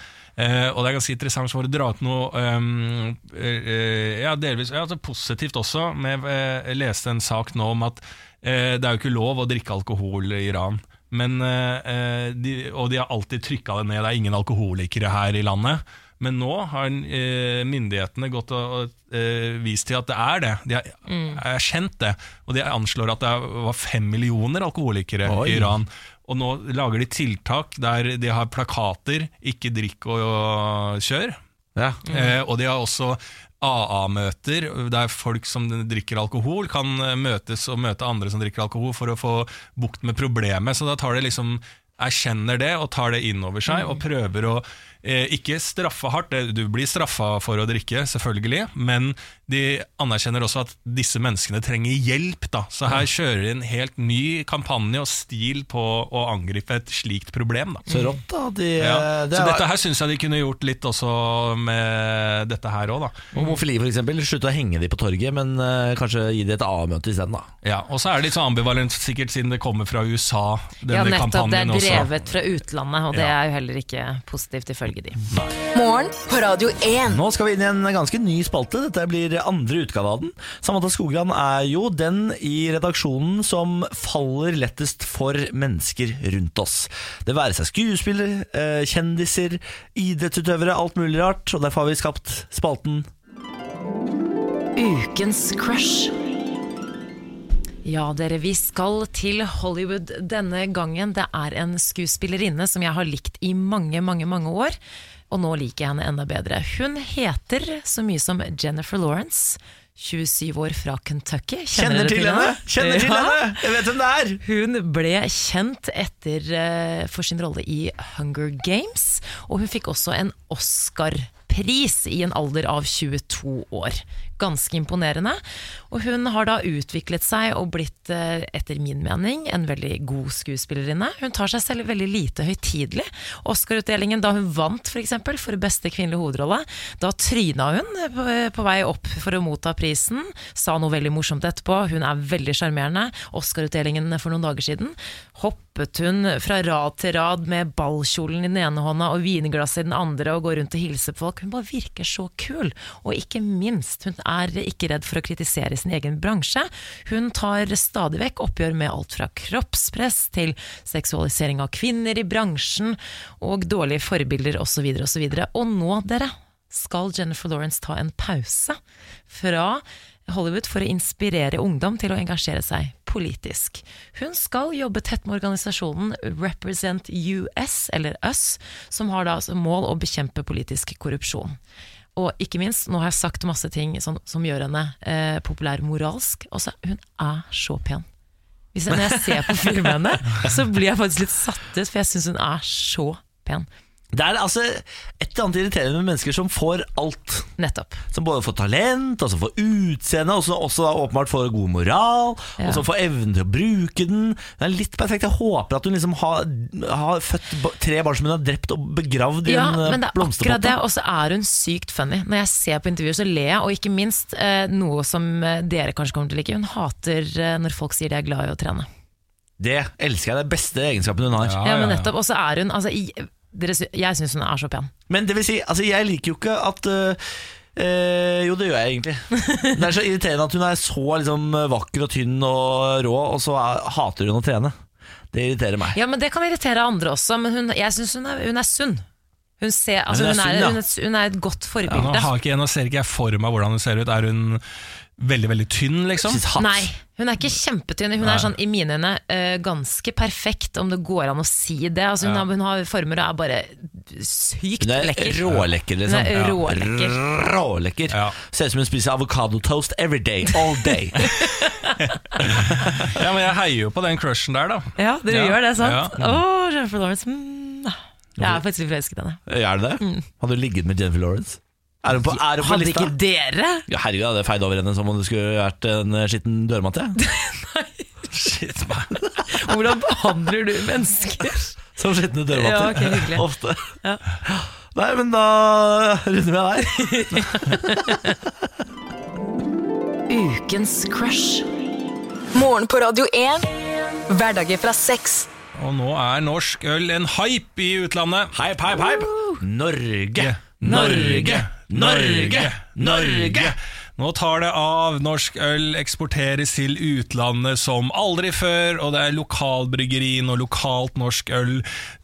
S2: Eh, og det er ganske interessant for å dra ut noe ehm, eh, eh, ja, delvis ja, altså positivt også. Med, eh, jeg leste en sak nå om at eh, det er jo ikke lov å drikke alkohol i Iran. Men, eh, eh, de, og de har alltid trykka det ned, det er ingen alkoholikere her i landet. Men nå har eh, myndighetene gått og, og eh, vist til at det er det. De har erkjent det. Og de anslår at det var fem millioner alkoholikere i Iran. Og nå lager de tiltak der de har plakater 'ikke drikk og, og kjør'.
S1: Ja.
S2: Eh, og de har også AA-møter, der folk som drikker alkohol, kan eh, møtes og møte andre som drikker alkohol for å få
S3: Mm.
S2: bukt med problemet. Så da tar det liksom erkjenner det og tar det inn over seg, og prøver å eh, ikke straffa hardt, det- du blir straffa for å drikke, selvfølgelig, men de anerkjenner også at disse menneskene trenger hjelp. Da. Så
S3: Mm.
S2: her kjører de en helt ny kampanje og stil på å angripe et slikt problem. Da.
S1: Så rått, da. De, eh,
S3: eh,
S2: Ja.
S1: det
S2: Så
S1: er-
S2: dette her syns jeg de kunne gjort litt også med dette her òg, da.
S1: Homofili, for eksempel. Slutte å henge de på torget, men eh, kanskje gi de et A-møte isteden, da.
S2: Ja, og så er det litt sånn ambivalent sikkert siden det kommer fra USA, denne
S3: Ja, nettopp. Det
S2: kampanjen
S3: er
S2: også.
S3: drevet fra utlandet, og det
S2: Ja.
S3: er jo heller ikke positivt, ifølge de.
S4: Morgen på Radio 1.
S1: Nå skal vi inn i en ganske ny spalte. Dette blir andre utgave av den. Samantha Skogran er jo den i redaksjonen som faller lettest for mennesker rundt oss. Det være seg skuespillere, eh, kjendiser, idrettsutøvere, alt mulig rart. Og derfor har vi skapt spalten
S3: Ukens crush. Ja, dere, vi skal til Hollywood denne gangen. Det er en skuespillerinne som jeg har likt i mange, mange, mange år. Og nå liker jeg henne enda bedre. Hun heter så mye som Jennifer Lawrence. 27 år fra Kentucky.
S1: Kjenner
S3: dere
S1: til henne! Kjenner til
S3: Ja.
S1: henne! Jeg vet hvem det er!
S3: Hun ble kjent etter, eh, for sin rolle i Hunger Games, og hun fikk også en Oscar-pris i en alder av 22 år. Ganske imponerende. Og hun har da utviklet seg og blitt, eh, etter min mening, en veldig god skuespillerinne. Hun tar seg selv veldig lite høytidelig. Oscar-utdelingen da hun vant for, eksempel, for beste kvinnelige hovedrolle, da tryna hun eh, på, på vei opp for å motta prisen. Sa noe veldig morsomt etterpå. Hun er veldig sjarmerende. Oscar-utdelingen for noen dager siden hoppet hun fra rad til rad med ballkjolen i den ene hånda og vinglasset i den andre og går rundt og hilser på folk. Hun bare virker så kul. Og ikke minst, hun er ikke redd for å kritisere sin egen bransje. Hun tar stadig vekk oppgjør med alt fra kroppspress til seksualisering av kvinner i bransjen og dårlige forbilder osv. osv. Og nå, dere, skal Jennifer Lawrence ta en pause fra Hollywood for å inspirere ungdom til å engasjere seg politisk. Hun skal jobbe tett med organisasjonen Represent US, eller US, som har da som mål å bekjempe politisk korrupsjon. Og ikke minst, nå har jeg sagt masse ting som, som gjør henne eh, populær moralsk. Også, hun er så pen. Hvis jeg, når jeg ser på filmen henne, så blir jeg faktisk litt satt ut, for jeg syns hun er så pen.
S1: Det er altså et eller annet irriterende med mennesker som får alt.
S3: Nettopp.
S1: Som både får talent, og som får utseende, og som også da åpenbart får god moral.
S3: Ja.
S1: Og som får evnen til å bruke den. Den er litt perfekt. Jeg håper at hun liksom har, har født ba- tre barn som hun har drept og begravd i
S3: Ja,
S1: en eh,
S3: men det er akkurat det,
S1: blomsterpotte.
S3: og så er hun sykt funny. Når jeg ser på intervjuer, så ler jeg, og ikke minst eh, noe som eh, dere kanskje kommer til å like. Hun hater eh, når folk sier de er glad i å trene.
S1: Det elsker jeg. Det er beste egenskapen hun har.
S3: Ja, men nettopp, Og så er hun altså, i, dere, sy- Jeg syns hun er så pen.
S1: Men det vil si, altså jeg liker jo ikke at øh, øh, jo, det gjør jeg egentlig. Det er så irriterende at hun er så liksom, vakker og tynn og rå, og så er, hater hun å trene. Det irriterer meg.
S3: Ja, men Det kan irritere andre også, men hun, jeg syns hun, er- hun er sunn. Hun, ser, altså,
S1: hun er sunn, ja.
S3: hun, er, hun, er, hun er et godt
S2: Ja, nå,
S3: forbilde.
S2: har ikke, nå ser ikke jeg for meg hvordan hun ser ut. Er hun veldig, veldig tynn,
S1: [LAUGHS]
S2: liksom?
S1: She's hot.
S3: Nei, hun er ikke kjempetynn. Hun er sånn, i mine øyne eh, ganske perfekt, om det går an å si det. Altså, hun, har, hun har former og er bare sykt
S1: Hun er
S3: lekker.
S1: rålekker, liksom.
S3: Hun er
S1: Ja.
S3: rålekker.
S1: Rålekker.
S2: Ja.
S1: Ser ut som hun spiser avokadotoast every day, all
S3: [LAUGHS]
S1: day.
S2: Ja, men jeg heier jo på den crushen der, da.
S3: Ja, dere
S2: Ja.
S3: gjør det, sant?
S2: Ja.
S3: Åh, Jennifer Lawrence. Mm. Jeg er faktisk litt forelsket i henne.
S1: er det det? Hadde du ligget med Jennifer Lawrence? Er hun på, er hun på
S3: Mm. Hadde
S1: lista?
S3: ikke dere?
S1: Ja, herregud, jeg hadde feid over henne som om det skulle vært en eh, skitten dørmatte.
S3: [LAUGHS]
S1: Shit, man.
S3: Hvordan behandler du mennesker?
S1: Som skitne
S3: Ja,
S1: dørmatter.
S3: ok, hyggelig.
S1: Ofte. Nei, men da runder vi av der.
S3: [LAUGHS] Ukens crush.
S4: Morgen på Radio 1. Hverdager fra seks.
S2: Og nå er norsk øl en hype i utlandet.
S1: Hype, hype, hype. Norge,
S2: Norge,
S1: Norge, Norge, Norge.
S2: Norge! Nå tar det av. Norsk øl eksporteres til utlandet som aldri før, og det er lokalbryggerien og lokalt norsk øl,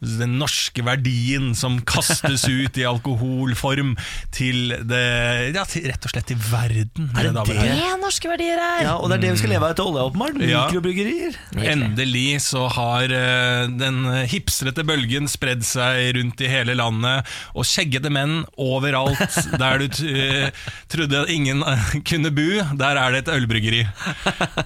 S2: den norske verdien som kastes ut i alkoholform til det Ja, til, rett og slett til verden. mine damer og herrer.
S3: Det er norske verdier her.
S1: Ja, og det er det vi skal leve av etter olja, åpenbart.
S2: Ja.
S1: Mikrobryggerier.
S2: Endelig så har eh, den hipstrete bølgen spredd seg rundt i
S1: [LAUGHS]
S2: hele landet, og skjeggete menn overalt der du t eh, trodde at ingen Kunnebu, der er det et ølbryggeri.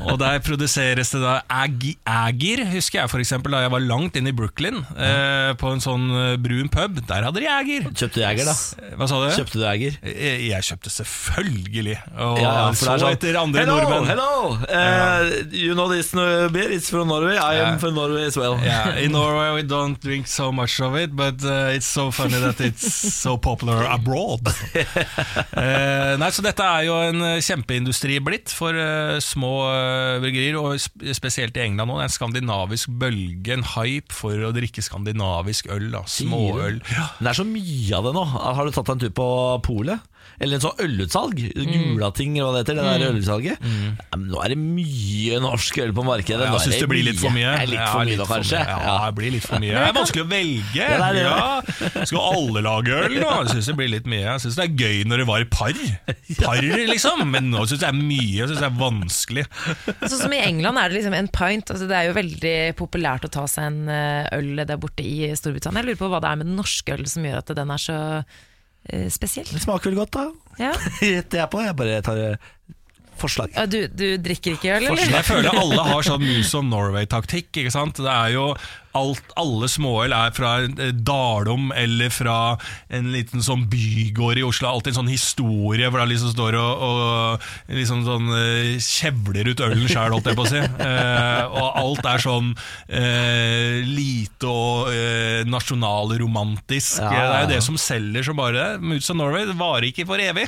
S2: Og der produseres det da Ag- Ager, husker jeg for eksempel da jeg var langt inn i Brooklyn, eh, på en sånn eh, brun pub. Der hadde de Ager.
S1: Kjøpte du Jeger, da?
S2: Hva sa du? Eh,
S1: Kjøpte du Jeger?
S2: Jeg, jeg kjøpte selvfølgelig, og
S1: Ja, ja, for
S2: så
S1: det er sånn,
S2: etter andre
S1: hello,
S2: nordmenn.
S1: Hello, Eh, You know this uh, beer, it's from Norway. I am
S2: Ja.
S1: from Norway as well.
S2: Yeah, in Norway we don't drink so much of it, but uh, it's so funny that it's so popular abroad. Eh, nei, så dette er jo en eh, kjempeindustri blitt for eh, små eh, bryggerier, og sp- spesielt i England nå. Det er en skandinavisk bølge, en hype for å drikke skandinavisk øl. Da. Småøl. Ja.
S1: Men Det er så mye av det nå. Har du tatt deg en tur på polet? Eller en sånn ølutsalg?
S2: Mm.
S1: Gulating eller hva det heter. Det der ølutsalget. Ja, men nå er det mye norsk øl på markedet.
S2: Jeg
S1: Nå er
S2: syns det blir litt for mye.
S1: Det er litt
S2: Ja,
S1: for mye
S2: litt
S1: nå, kanskje.
S2: Ja, det blir litt for mye. Det er vanskelig å velge.
S1: Ja, det er det.
S2: Ja. Skal alle lage øl nå? Jeg syns det blir litt mye. Jeg syns det er gøy når det var par. Par, liksom. Men nå syns jeg det er mye. Jeg syns det er vanskelig.
S3: Sånn som I England er det liksom en pint. Altså det er jo veldig populært å ta seg en eh, øl der borte i Storbritannia. Jeg lurer på hva det er med den norske ølen som gjør at den er så eh, spesiell.
S1: Det smaker vel godt, da. [LAUGHS]
S3: Ja.
S1: Gjetter jeg på. Jeg bare tar eh, forslag.
S3: Ja, Du, du drikker ikke øl,
S2: Men
S3: eller?
S2: Jeg føler alle har sånn Moose of Norway-taktikk. ikke sant? Det er jo alt, Alle småøl er fra eh, Dalom eller fra en liten sånn bygård i Oslo. Alltid en sånn historie hvor de liksom står og, og liksom sånn eh, kjevler ut ølen sjøl, holdt jeg på å [LAUGHS] si. Eh, og alt er sånn eh, lite og eh, nasjonalromantisk.
S1: Ja, ja,
S2: Det er jo
S1: ja.
S2: det som selger som bare det. Moose of Norway det varer ikke for evig.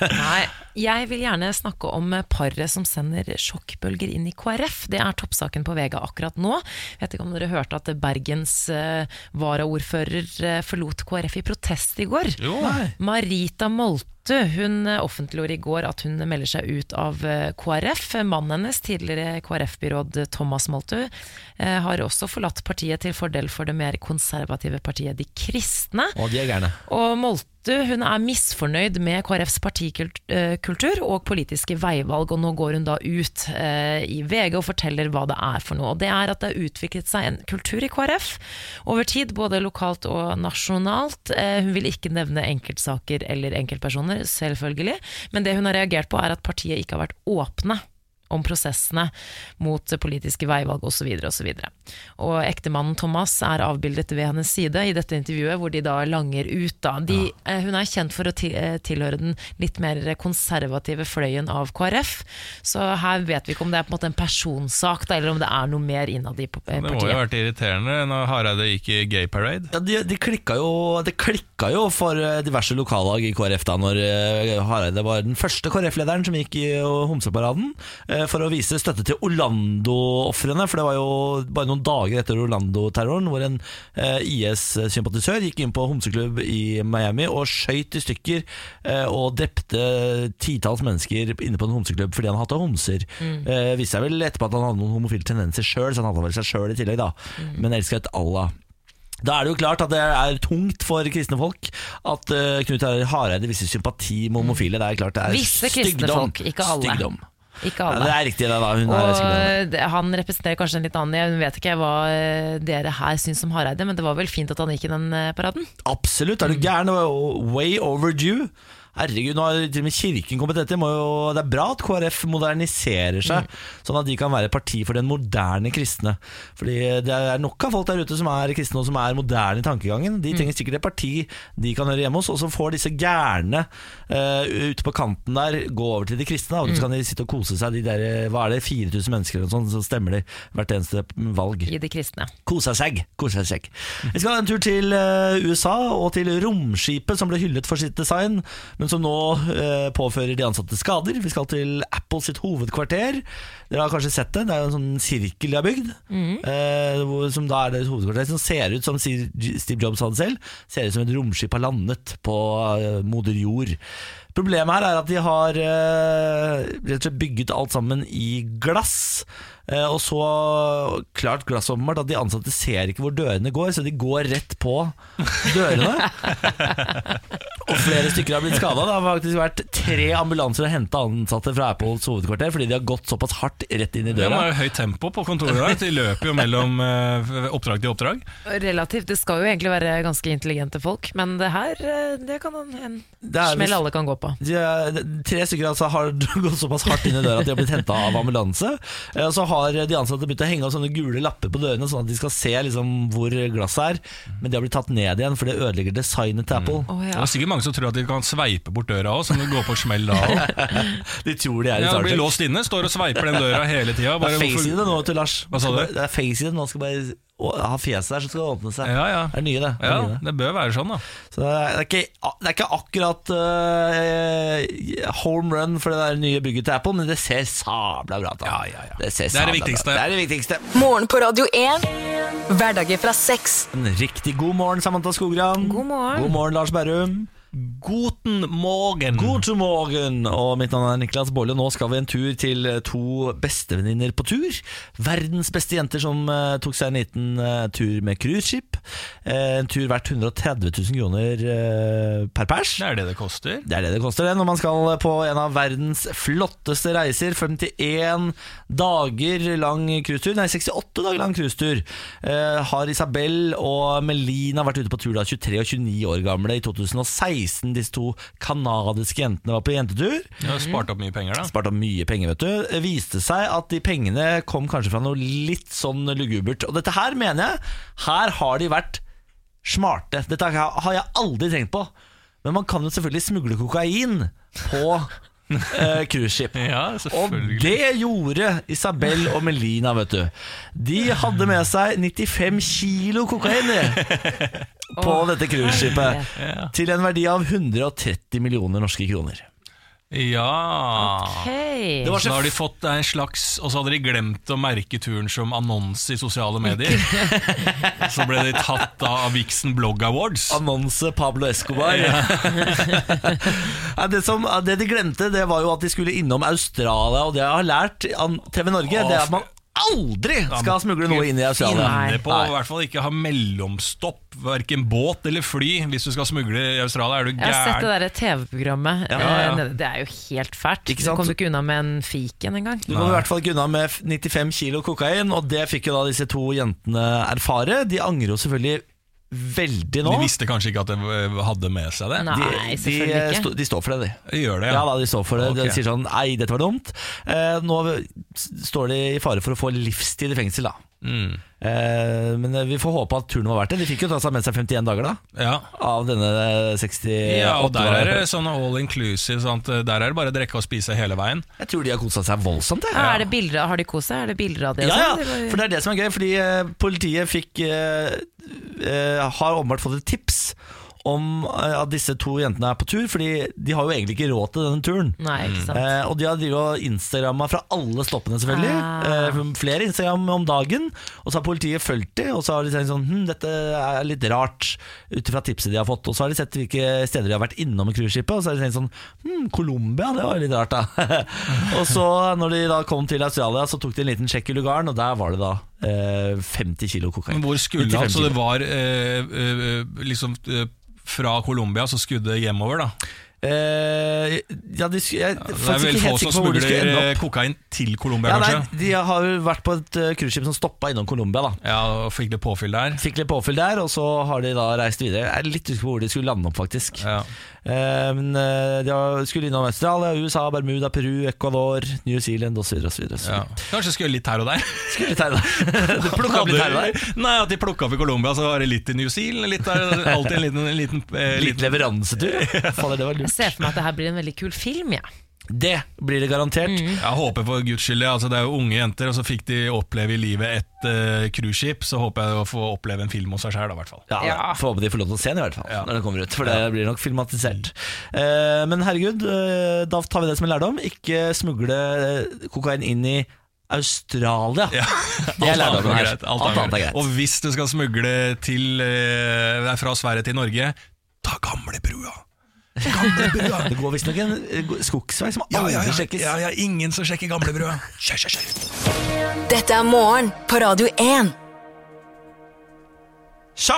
S3: Nei. Jeg vil gjerne snakke om paret som sender sjokkbølger inn i KrF. Det er toppsaken på VG akkurat nå. Jeg vet ikke om dere hørte at Bergens eh, varaordfører eh, forlot KrF i protest i går. Marita Moltu hun eh, offentliggjorde i går at hun melder seg ut av eh, KrF. Mannen hennes, tidligere KrF-byråd Thomas Moltu, eh, har også forlatt partiet til fordel for det mer konservative partiet De kristne.
S1: Og de er gærne.
S3: Og Moltu hun er misfornøyd med KrFs partikultur eh, og politiske veivalg, og nå går hun da ut eh, i VG og forteller hva det er for noe. Og det er at det har utviklet seg en kultur i KrF over tid, både lokalt og nasjonalt. Eh, hun vil ikke nevne enkeltsaker eller enkeltpersoner, selvfølgelig, men det hun har reagert på er at partiet ikke har vært åpne om prosessene mot politiske veivalg osv. osv. Og ektemannen Thomas er avbildet ved hennes side i dette intervjuet, hvor de da langer ut. Da. De, eh, Hun er kjent for å ti- eh, tilhøre den litt mer konservative fløyen av KrF, så her vet vi ikke om det er på en måte en personsak, da, eller om det er noe mer innad i po- eh,
S2: Det må jo ha
S3: partiet.
S2: vært irriterende når Hareide gikk i gay parade.
S1: Ja, de, de klikka jo, det klikka jo for eh, diverse lokallag i KrF da Når eh, Hareide var den første KrF-lederen som gikk i eh, homseparaden eh, For å vise støtte til Orlando-offrene For det var jo bare noen dager etter Orlando-terroren Hvor en eh, IS-sympatisør gikk inn på homseklubb i Miami Og skjøyt i stykker eh, og drepte titalls mennesker inne på en homseklubb Fordi han hadde homser eh, Viste seg vel etterpå at han hadde noen homofile tendenser selv Så han hadde vel seg selv i tillegg da Men elsket Allah da er det jo klart at det er tungt for kristne folk at eh, Knut Arild Hareide viser sympati med homofile. Det er klart det er
S3: Visse kristne
S1: stygdom.
S3: folk, ikke alle.
S1: Stygdom.
S3: Ikke
S1: Ja,
S3: alle.
S1: det er riktig, det. da Hun er stygdom.
S3: Og det- han representerer kanskje en litt annen Jeg vet ikke hva eh, dere her syns om Hareide, men det var vel fint at han gikk i den eh, paraden?
S1: Absolutt, er du gæren? Og Way overdue. Herregud, nå har til og med kirken kommet etter. Må jo, det er bra at KrF moderniserer seg, sånn at de kan være et parti for den moderne kristne. Fordi det er nok av folk der ute som er kristne og som er moderne i tankegangen. De trenger sikkert et parti de kan høre hjemme hos, og så får disse gærne eh, ute på kanten der gå over til de kristne. da, Og så kan de sitte og kose seg, de der, eh, hva er det, 4000 mennesker eller noe sånt, så stemmer de hvert eneste valg.
S3: I de kristne.
S1: Kosa seg, kosa seg. Vi skal ha en tur til eh, USA og til romskipet som ble hyllet for sitt design, men som nå eh, påfører de ansatte skader. Vi skal til Apple sitt hovedkvarter. Dere har kanskje sett det. Det er jo en sånn sirkel de har bygd, eh, hvor, som da er deres hovedkvarter, som ser ut som sier Steve Jobs hadde selv, ser ut som et romskip har landet på eh, moder jord. Problemet her er at de har eh, rett og slett bygget alt sammen i glass. Eh, og så klart glass åpenbart at de ansatte ser ikke hvor dørene går, så de går rett på dørene. og flere stykker har blitt skada. Det har faktisk vært tre ambulanser og henta ansatte fra Apples hovedkvarter fordi de har gått såpass hardt rett inn i
S2: De
S1: døra.
S2: har jo høyt tempo på kontoret i dag. De løper jo mellom
S1: [LAUGHS]
S2: eh, oppdrag til oppdrag.
S3: Relativt. Det skal jo egentlig være ganske intelligente folk, men det her eh, det kan en, en
S1: Det er
S3: smell
S1: visst-
S3: alle kan gå på.
S1: de, tre stykker altså har [LAUGHS] gått såpass hardt inn i døra at de har blitt henta av ambulanse. Eh, Og så har de ansatte begynt å henge opp sånne gule lapper på dørene, sånn at de skal se liksom, hvor glasset er. Men de har blitt tatt ned igjen, for det ødelegger designet til Apple.
S3: Å
S2: Det
S3: ja.
S2: er sikkert mange som tror at de kan sveipe bort døra òg, så de går på smell da
S1: [LAUGHS]
S2: òg.
S1: De tror de er i
S2: Ja,
S1: Star
S2: blir
S1: Trek.
S2: låst inne, står og sveiper den døra hele tida.
S1: Det er face i det nå, til Lars.
S2: Hva sa du?
S1: Det er face i det nå, skal bare å, ha fjeset der, så skal det åpne seg.
S2: Ja, ja.
S1: Det er nye, det. Det
S2: Ja,
S1: er nye, det.
S2: det bør være sånn, da.
S1: Så det er ikke, det er ikke akkurat eh, home run for det der nye bygget til Apple, men det ser sabla bra ut. da.
S2: Ja, ja, ja.
S1: Det, ser
S2: Det er det
S1: sabla bra ut.
S2: viktigste.
S1: Det er det viktigste.
S4: Morgen på Radio 1. Hverdager fra seks.
S1: En Riktig god morgen, Samantha Skogran.
S3: God morgen.
S1: God morgen, Lars Berrum.
S2: Guten morgen.
S1: God morgen. Og mitt navn er Niklas Baarli, og nå skal vi en tur til eh, to bestevenninner på tur. Verdens beste jenter som eh, tok seg en liten eh, tur med cruiseskip. Eh, en tur verdt 130 000 kroner eh, per pers.
S2: Det er det det koster.
S1: Det er det det koster det når man skal på en av verdens flotteste reiser. 51 dager lang cruisetur, nei 68 dager lang cruisetur. Eh, har Isabel og Melina vært ute på tur da 23 og 29 år gamle i 2016. Disse to kanadiske jentene var på jentetur.
S2: Du har spart opp mye penger, da.
S1: Mm. Spart opp mye penger, vet du. Det viste seg at de pengene kom kanskje fra noe litt sånn lugubert. Og dette her mener jeg, her har de vært smarte. Dette har jeg aldri tenkt på. Men man kan jo selvfølgelig smugle kokain på eh, cruiseskip.
S2: Ja,
S1: Og
S2: selvfølgelig.
S1: det gjorde Isabel og Melina, vet du. De hadde med seg 95 kilo kokain de, på
S3: Åh,
S1: dette cruiseskipet. Til en verdi av 130 millioner norske kroner.
S2: Ja.
S3: Hei.
S2: Så da har de fått en slags Og så hadde de glemt å merke turen som annonse i sosiale
S1: [LAUGHS]
S2: medier. Så ble de tatt av Vixen Blog Awards.
S1: Annonse Pablo Escobar. [LAUGHS] Nei, det, som, det de glemte, det var jo at de skulle innom Australia, og det jeg har lært an TV Norge, det er at man aldri skal smugle noe inn i Australia.
S2: Finne på å i hvert fall ikke ha mellomstopp, verken båt eller fly, hvis du skal smugle i Australia. Er du
S3: Jeg har sett
S2: gæren?
S3: det der TV-programmet.
S2: ja, ja.
S3: eh, Det er jo helt fælt.
S1: Ikke
S3: Du
S1: sant?
S3: kommer ikke unna med en fiken engang.
S1: Du kom i hvert fall ikke unna med f- 95 kilo kokain, og det fikk jo da disse to jentene erfare. De angrer jo selvfølgelig veldig nå.
S2: De visste kanskje ikke at de hadde med seg det.
S1: De,
S3: Nei,
S1: de,
S3: selvfølgelig ikke.
S1: sto- de står for det, de.
S2: De Gjør det,
S1: Ja, da, de står for det.
S2: Ok.
S1: De sier sånn Nei, dette var dumt. Eh, nå s- står de i fare for å få livstid i fengsel, da.
S2: Mm.
S1: Eh, men eh, vi får håpe at turen var verdt det. De fikk jo ta seg med seg 51 dager, da.
S2: ja.
S1: Av denne 68
S2: Ja, og der er det
S1: dager.
S2: sånn all inclusive. Sant? Der er det bare å drikke og spise hele veien.
S1: Jeg tror de har kosa seg voldsomt, jeg.
S3: Ja, Ah, er det bilder, av- har de kost seg? Er det bilder av det? og
S1: Ja,
S3: sånn?
S1: ja,
S3: Det var-
S1: for det er det som er gøy. Fordi eh, politiet fikk eh, eh, Har åpenbart fått et tips om eh, at disse to jentene er på tur. Fordi de har jo egentlig ikke råd til denne turen.
S3: Nei, ikke sant.
S1: Eh, og de har drivet og Instagramma fra alle stoppene, selvfølgelig.
S3: Ah.
S1: Eh, flere Instagram om dagen. Og så har politiet fulgt de, og så har de tenkt sånn hm, dette er litt rart, ut ifra tipset de har fått. Og så har de sett hvilke steder de har vært innom i cruiseskipet, og så har de tenkt sånn hm, Colombia, det var jo litt rart, da. [LAUGHS] og så, når de da kom til Australia, så tok de en liten sjekk i lugaren, og der var det da eh, 50 kilo kokain.
S2: Men hvor skulle
S1: 95
S2: altså, det
S1: kilo.
S2: var eh, eh, liksom eh, fra Colombia, så skudde det hjemover, da.
S1: Eh, ja, de, sk- jeg,
S2: Det er
S1: faktisk
S2: vel
S1: ikke
S2: få
S1: helt
S2: som
S1: sikker på hvor de skulle
S2: smugler
S1: ende
S2: eh,
S1: opp.
S2: kokain til Colombia,
S1: Ja, nei,
S2: kanskje.
S1: de har jo vært på et eh, cruiseskip som stoppa innom Colombia, da.
S2: Ja, og fikk litt påfyll der.
S1: Fikk litt påfyll der, og så har de da reist videre. Jeg er litt usikker på hvor de skulle lande opp, faktisk.
S2: Ja.
S1: Eh, men eh, de har- skulle innom Australia, USA, Bermuda, Peru, Ecuador, New Zealand osv. osv.
S2: Ja. Kanskje skulle litt her og der.
S1: Skulle litt her, da. [LAUGHS] Du plukka opp litt her og der.
S2: Nei, At de plukka opp i Colombia, så var det litt i New Zealand. Litt der, alltid en liten, en liten, eh,
S1: Litt
S2: liten [LAUGHS]
S1: leveransetur. Fader, det var
S3: Jeg
S1: lurt.
S3: ser for meg at det her blir en veldig kul film, jeg. Ja.
S1: Det blir det garantert.
S2: Jeg håper for guds skyld. ja. Altså, det er jo unge jenter, og så fikk de oppleve i livet et eh, cruiseskip. Så håper jeg å få oppleve en film hos seg sjøl, i hvert fall.
S1: Ja,
S3: Ja.
S1: Får håpe de får lov til å se den i hvert fall
S2: Ja.
S1: når den kommer ut. For det blir nok filmatisert. Eh, men herregud, eh, da tar vi det som en lærdom. Ikke smugle eh, kokain inn i Australia. Det er
S2: Alt
S1: lærdommen
S2: annet
S1: her.
S2: greit, alt annet er greit. Og hvis du skal smugle til, eh, det er fra Sverige til Norge, ta gamlebrua.
S1: [LAUGHS]
S2: Gamlebrua!
S1: Det går visstnok en eh, skogsvei som
S2: Ja,
S1: aldri
S2: ja, ja,
S1: sjekkes.
S2: ja, ja, ingen som sjekker gamlebrua. Kjør, kjør, kjør.
S4: Dette er morgen på Radio 1.
S1: Så,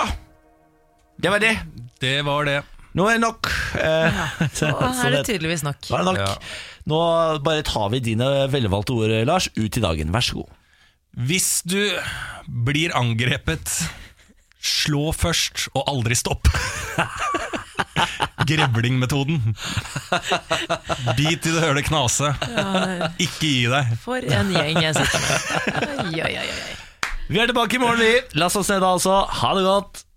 S1: det var det.
S2: Det var det.
S1: Nå er det nok. Eh, [LAUGHS] så-
S3: Og
S1: så
S3: her er det
S1: det-
S3: tydeligvis nok.
S1: Da er det nok.
S2: Ja.
S1: Nå bare tar vi dine velvalgte ord, eh, Lars, ut i dagen. Vær så god.
S2: Hvis du blir angrepet, slå først og aldri stopp. Grevlingmetoden. Bit i det høle knase. Ikke gi deg.
S3: For en gjeng jeg
S1: [LAUGHS]
S3: sitter med. Oi, oi, oi, oi.
S1: Vi er tilbake i morgen, vi. La oss se da, altså. Ha det godt.